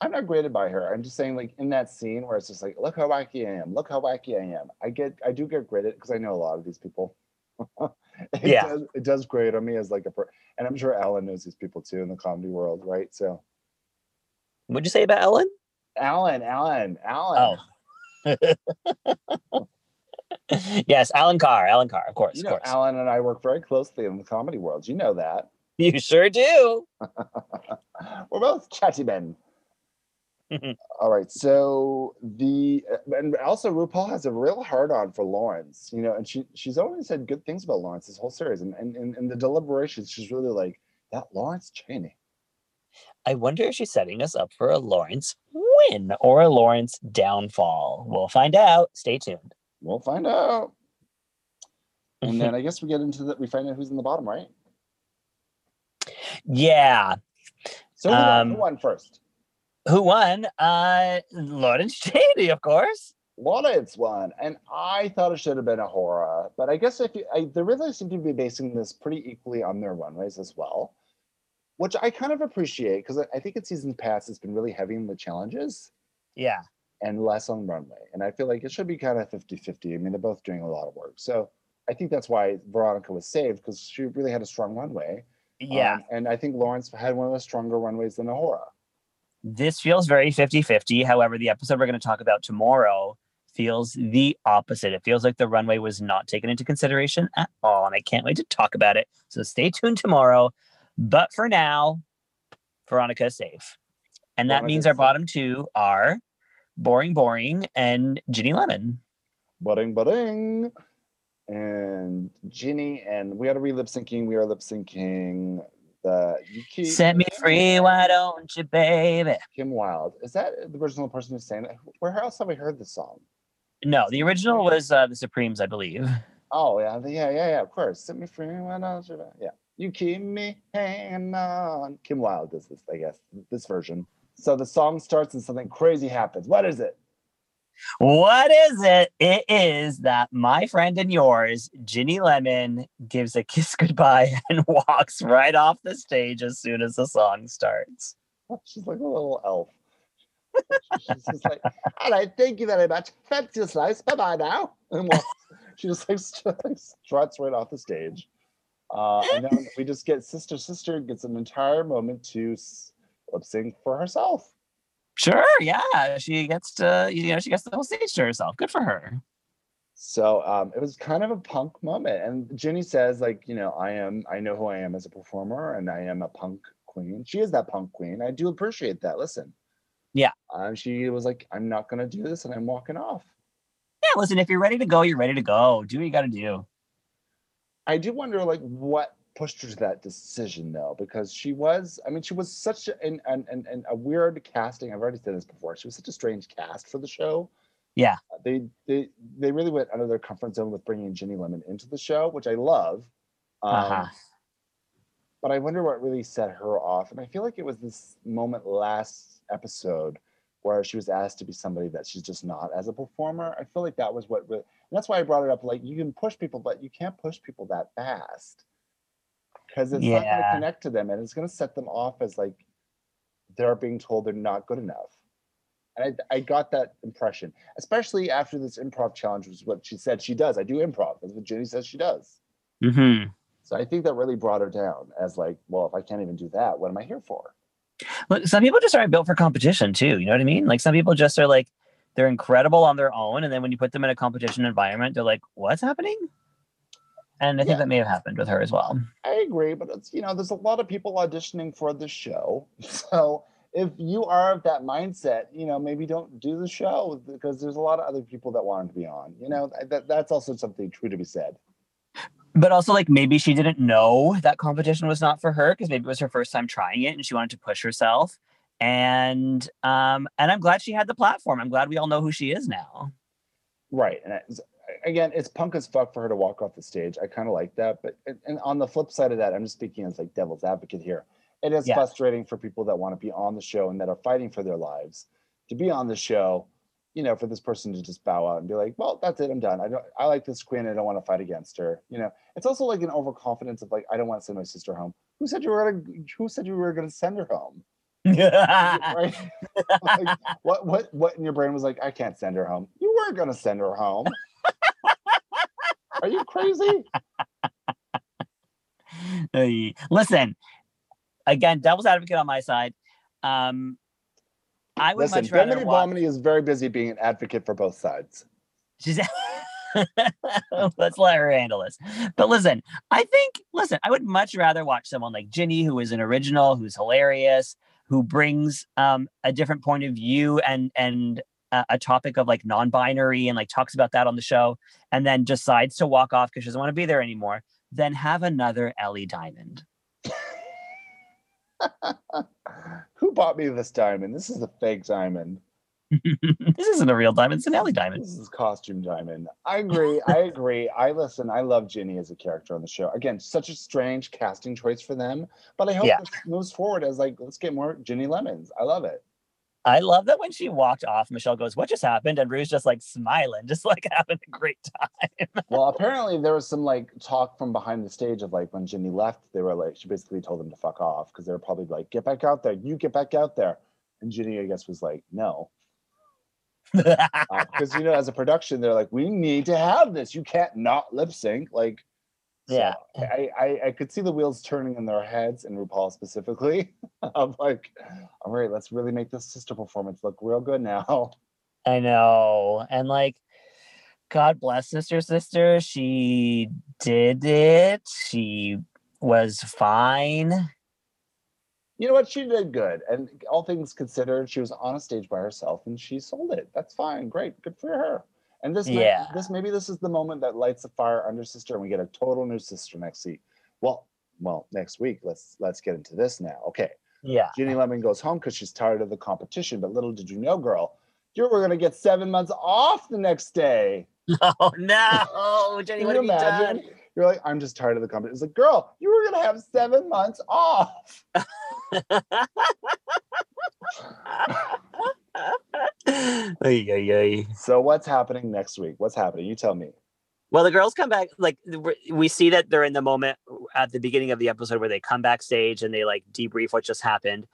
I'm not graded by her. I'm just saying, like in that scene where it's just like, look how wacky I am, look how wacky I am. I get, I do get graded because I know a lot of these people. it Yeah. does, it does grade on me as like a, per- and I'm sure Alan knows these people too in the comedy world, right? So What'd you say about Ellen? Alan, Alan, Oh, Alan. yes, Alan Carr, Alan Carr, of course, you of know, course. Alan and I work very closely in the comedy world. You know that. you sure do. We're both chatty men. Mhm. All right. So the uh, and also RuPaul has a real hard on for Lawrence, you know, and she she's always said good things about Lawrence this whole series, and and and, and the deliberations, she's really like that Lawrence Cheney. I wonder if she's setting us up for a Lawrence win or a Lawrence downfall. We'll find out. Stay tuned. We'll find out. And then I guess we get into that. We find out who's in the bottom, right? yeah. So who, won- who Um, won first? Who won? Uh Lawrence Cheney, of course. Lawrence won, and I thought it should have been a horror, but I guess if you, I, they really seem to be basing this pretty equally on their runways as well, which I kind of appreciate because I think in seasons past it's been really heavy on the challenges Yeah. and less on runway, and I feel like it should be kind of 50-50. I mean, they're both doing a lot of work, so I think that's why Veronica was saved because she really had a strong runway. Yeah. um, and I think Lawrence had one of the stronger runways than Ahura. this feels very 50 50. However, the episode we're going to talk about tomorrow feels the opposite. It feels like the runway was not taken into consideration at all. And I can't wait to talk about it. So stay tuned tomorrow. But for now, Veronica is safe. And that Veronica means is our safe. bottom two are Boring Boring and Ginny Lemon. Ba-ding, ba-ding. And Ginny, and we had to be lip syncing. We are lip syncing the you keep Set me free, why don't you, baby? Kim Wilde. Is that the original person who's saying that? Where else have we heard this song? No, the original was uh, The Supremes, I believe. Oh yeah, yeah, yeah, yeah. Of course. Set me free when I was yeah. You keep me hanging on. Kim Wilde does this, I guess. This version. So the song starts and something crazy happens. What is it? What is it? It is that my friend and yours, Ginny Lemon, gives a kiss goodbye and walks right off the stage as soon as the song starts. She's like a little elf. She's just like, all right, thank you very much. That's your slice. Bye bye now. And walks. she just like struts right off the stage. Uh, and then we just get sister sister gets an entire moment to lip sync for herself. Sure, yeah, she gets to you know she gets the whole stage to herself. Good for her. So um, it was kind of a punk moment. And Ginny says like you know I am I know who I am as a performer and I am a punk queen. She is that punk queen. I do appreciate that. Listen. Yeah. Um, she was like, I'm not gonna do this, and I'm walking off. Yeah, listen, if you're ready to go, you're ready to go. Do what you got to do. I do wonder like what pushed her to that decision though, because she was, I mean, she was such an, an, an, an a weird casting. I've already said this before. She was such a strange cast for the show. Uh, Yeah. They they they really went out of their comfort zone with bringing Ginny Lemon into the show, which I love. Um, Uh-huh. But I wonder what really set her off. And I feel like it was this moment last episode where she was asked to be somebody that she's just not as a performer. I feel like that was what, re- and that's why I brought it up. Like you can push people, but you can't push people that fast because it's not going to Yeah. connect to them, and it's going to set them off as like they're being told they're not good enough. And I, I got that impression, especially after this improv challenge was what she said she does. I do improv. That's what Jenny says she does. Mm-hmm. So I think that really brought her down as like, well, if I can't even do that, what am I here for? Look, some people just aren't built for competition too. You know what I mean? Like some people just are like they're incredible on their own, and then when you put them in a competition environment, they're like, "What's happening?" And I think Yeah. that may have happened with her as well. I agree, but it's you know, there's a lot of people auditioning for the show. So if you are of that mindset, you know, maybe don't do the show because there's a lot of other people that want to be on. You know, that that's also something true to be said. But also, like maybe she didn't know that competition was not for her because maybe it was her first time trying it, and she wanted to push herself. And um, and I'm glad she had the platform. I'm glad we all know who she is now. Right. And it's, again, it's punk as fuck for her to walk off the stage. I kind of like that. But and- and on the flip side of that, I'm just speaking as like devil's advocate here. It is Yeah. frustrating for people that want to be on the show and that are fighting for their lives to be on the show. You know, for this person to just bow out and be like, "Well, that's it. I'm done. I don't. I like this queen. I don't want to fight against her." You know, it's also like an overconfidence of like, "I don't want to send my sister home." Who said you were gonna? Who said you were gonna send her home? right? Like, what what what in your brain was like, I can't send her home. You were gonna send her home. Are you crazy? Hey, Listen, again, devil's advocate on my side. Um, I would Listen, much rather Bimini watch. Bomini is very busy being an advocate for both sides. She's let's let her handle this. But listen, I think listen, I would much rather watch someone like Ginny, who is an original, who's hilarious, who brings um, a different point of view and and a, a topic of like non-binary and like talks about that on the show, and then decides to walk off because she doesn't want to be there anymore. Then have another Ellie Diamond. Who bought me this diamond? This is a fake diamond. this isn't a real diamond; it's an Ellie Diamond. This is costume diamond. I agree. I agree. I listen. I love Ginny as a character on the show. Again, such a strange casting choice for them, but I hope Yeah. this moves forward as like let's get more Ginny Lemons. I love it. I love that when she walked off, Michelle goes, "What just happened?" and Rue's just like smiling, just like having a great time. well, apparently there was some like talk from behind the stage of like when Ginny left, they were like she basically told them to fuck off because they were probably like, get back out there, you get back out there. And Ginny, I guess, was like, no. Because you know, as a production, they're like, we need to have this. You can't not lip sync. Like, so Yeah. I, I I could see the wheels turning in their heads and RuPaul specifically. I'm like, all right, let's really make this sister performance look real good now. I know. And like, God bless Sister Sister. She did it. She was fine. you know what? She did good. And all things considered, she was on a stage by herself and she sold it. That's fine. Great. Good for her. And this, Yeah. might, this maybe this is the moment that lights a fire under sister, and we get a total new sister next week. Well, well, next week. Let's let's get into this now. Okay. Yeah. Ginny Lemon goes home because she's tired of the competition. But little did you know, girl, you were gonna get seven months off the next day. Oh no, Jenny, Can what you have you done? imagine? You're like, I'm just tired of the company. It's like, girl, you were gonna have seven months off. Ay, ay, ay. So what's happening next week? What's happening? You tell me. Well, the girls come back. Like we- we see that they're in the moment at the beginning of the episode where they come backstage and they like debrief what just happened.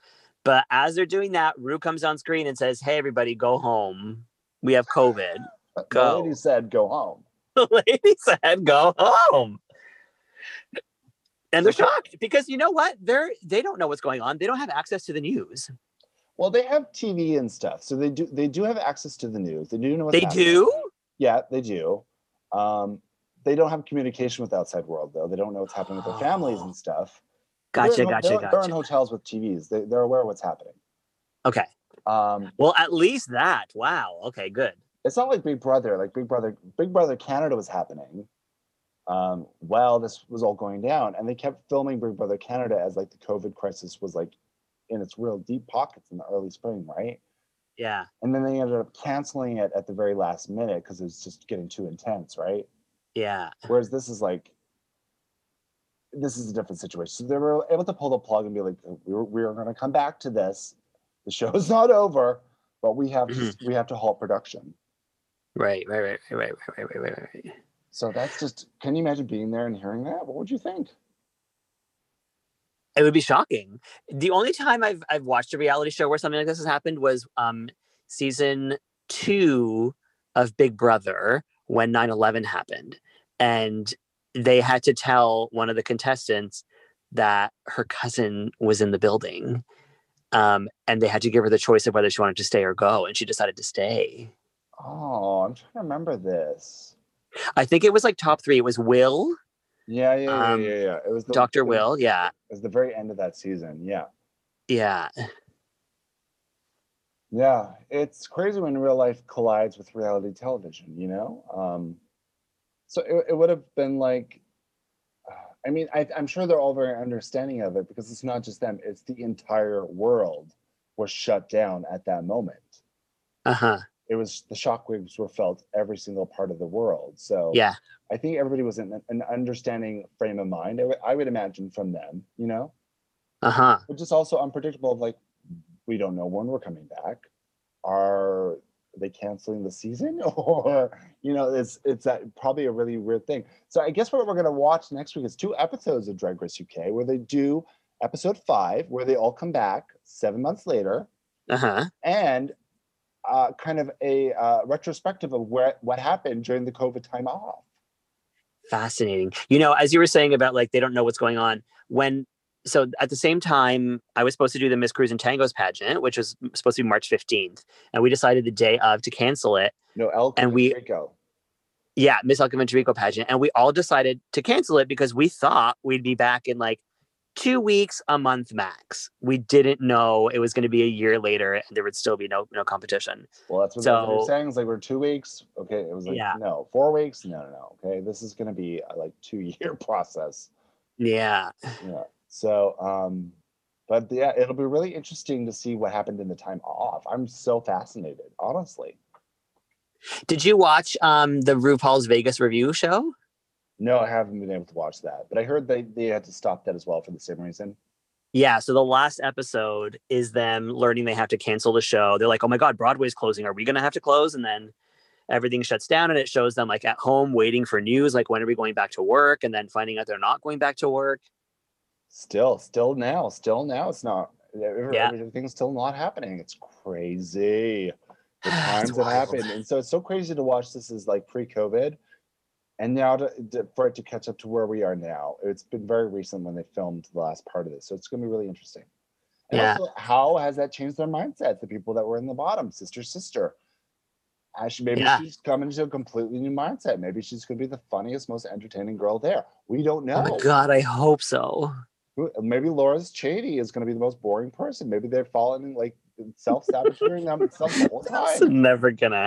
But as they're doing that, Rue comes on screen and says, "Hey, everybody, go home. We have COVID." The Go. lady said, go home. the lady said, "Go home." And they're shocked because you know what? They're they don't know what's going on. They don't have access to the news. Well, they have TV and stuff, so they do they do have access to the news. They do know what's They happening. do. Yeah, they do. Um, they don't have communication with the outside world though. They don't know what's happening with their families and stuff. They're in Gotcha, ho- gotcha, they're, They're in gotcha. hotels with TVs. They, they're aware of what's happening. Okay. Um, Well, at least that. Wow. Okay. Good. it's not like Big Brother. Like Big Brother, Big Brother Canada was happening. Um, while this was all going down, and they kept filming Big Brother Canada as like the COVID crisis was like in its real deep pockets in the early spring, right? Yeah. And then they ended up canceling it at the very last minute because it was just getting too intense, right? Yeah. Whereas this is like, this is a different situation. So they were able to pull the plug and be like, "Oh, we were, we are going to come back to this. The show's not over, but we have to, Mm-hmm. we have to halt production. Right. Right. Right. Right. Right. Right. Right. Right. Right. right. So that's just. Can you imagine being there and hearing that? What would you think? It would be shocking. The only time I've I've watched a reality show where something like this has happened was um season two of Big Brother when 9-11 happened. And they had to tell one of the contestants that her cousin was in the building. Um, and they had to give her the choice of whether she wanted to stay or go, and she decided to stay. Oh, I'm trying to remember this. I think it was like top three. It was Will, Yeah, yeah, yeah, Um, yeah, yeah. It was the, Dr. it was- Will. Yeah. It was the very end of that season. Yeah, Yeah. yeah. It's crazy when real life collides with reality television. You know. Um, so it, it would have been like. uh, I mean, I, I'm sure they're all very understanding of it because it's not just them; it's the entire world was shut down at that moment. Uh huh. It was the shockwaves were felt every single part of the world. So Yeah. I think everybody was in an- an understanding frame of mind. I would- I would imagine from them, you know, Uh huh. but just also unpredictable. Of like, we don't know when we're coming back. Are they canceling the season, or you know, it's it's that probably a really weird thing. So I guess what we're gonna watch next week is two episodes of Drag Race UK where they do episode five where they all come back seven months later Uh huh. and. Uh, kind of a uh, retrospective of where what happened during the COVID time off. Fascinating. You know, as you were saying about like they don't know what's going on when. So at the same time, I was supposed to do the Miss Cruise and Tangos pageant, which was supposed to be March 15th. And we decided the day of to cancel it. No, El And we- Rico. Yeah, Miss Alcaventurico pageant. And we all decided to cancel it because we thought we'd be back in like two weeks, a month max. We didn't know it was going to be a year later and there would still be no no competition. Well, that's what so, they're So- saying. It's like we're two weeks. Okay, it was like Yeah. no, four weeks. No, no, no. Okay, this is going to be a, like two year process. Yeah. Yeah. So, um, but yeah, it'll be really interesting to see what happened in the time off. I'm so fascinated, honestly. Did you watch um the RuPaul's Vegas review show? No, I haven't been able to watch that, but I heard they they had to stop that as well for the same reason. Yeah, so the last episode is them learning they have to cancel the show. They're like, "Oh my god, Broadway's closing. Are we going to have to close?" And then everything shuts down and it shows them like at home waiting for news like when are we going back to work and then finding out they're not going back to work. Still, still now, still now, it's not. e-, every- Yeah. Everything's still not happening. It's crazy. the It's times that wild. happened. And so it's so crazy to watch this as like pre-COVID, and now to, to- for it to catch up to where we are now. It's been very recent when they filmed the last part of this, so it's going to be really interesting. And Yeah. also, how has that changed their mindsets? The people that were in the bottom, sister, sister. Actually, maybe Yeah. she's coming to a completely new mindset. Maybe she's going to be the funniest, most entertaining girl there. We don't know. Oh my god, I hope so. Who- Maybe Laura's Cheney is going to be the most boring person. Maybe they're falling like self-sabotaging themselves the whole time. That's never going to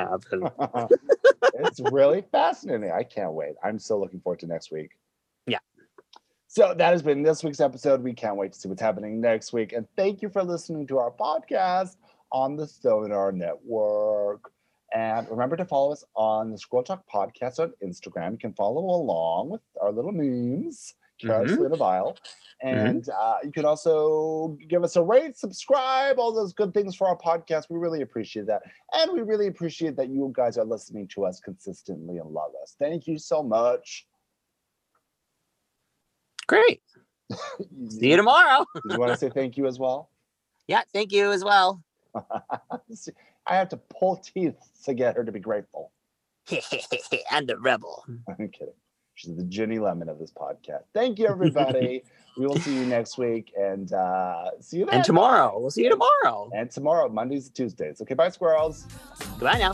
happen. it's really fascinating. I can't wait. I'm so looking forward to next week. Yeah. So that has been this week's episode. We can't wait to see what's happening next week. And thank you for listening to our podcast on the Sonar Network. And remember to follow us on the Scroll Talk podcast on Instagram. You can follow along with our little memes, Carol Mhm. Selena Vile. And uh, you can also give us a rate, subscribe, all those good things for our podcast. We really appreciate that. And we really appreciate that you guys are listening to us consistently and love us. Thank you so much. Great. See you tomorrow. Did you want to say thank you as well? Yeah, thank you as well. I have to pull teeth to get her to be grateful. I'm the rebel. I'm kidding. She's the Ginny Lemon of this podcast. Thank you, everybody. we will see you next week and uh, see you then. And tomorrow. We'll see you tomorrow. And tomorrow, Mondays and Tuesdays. Okay, bye, squirrels. Goodbye now.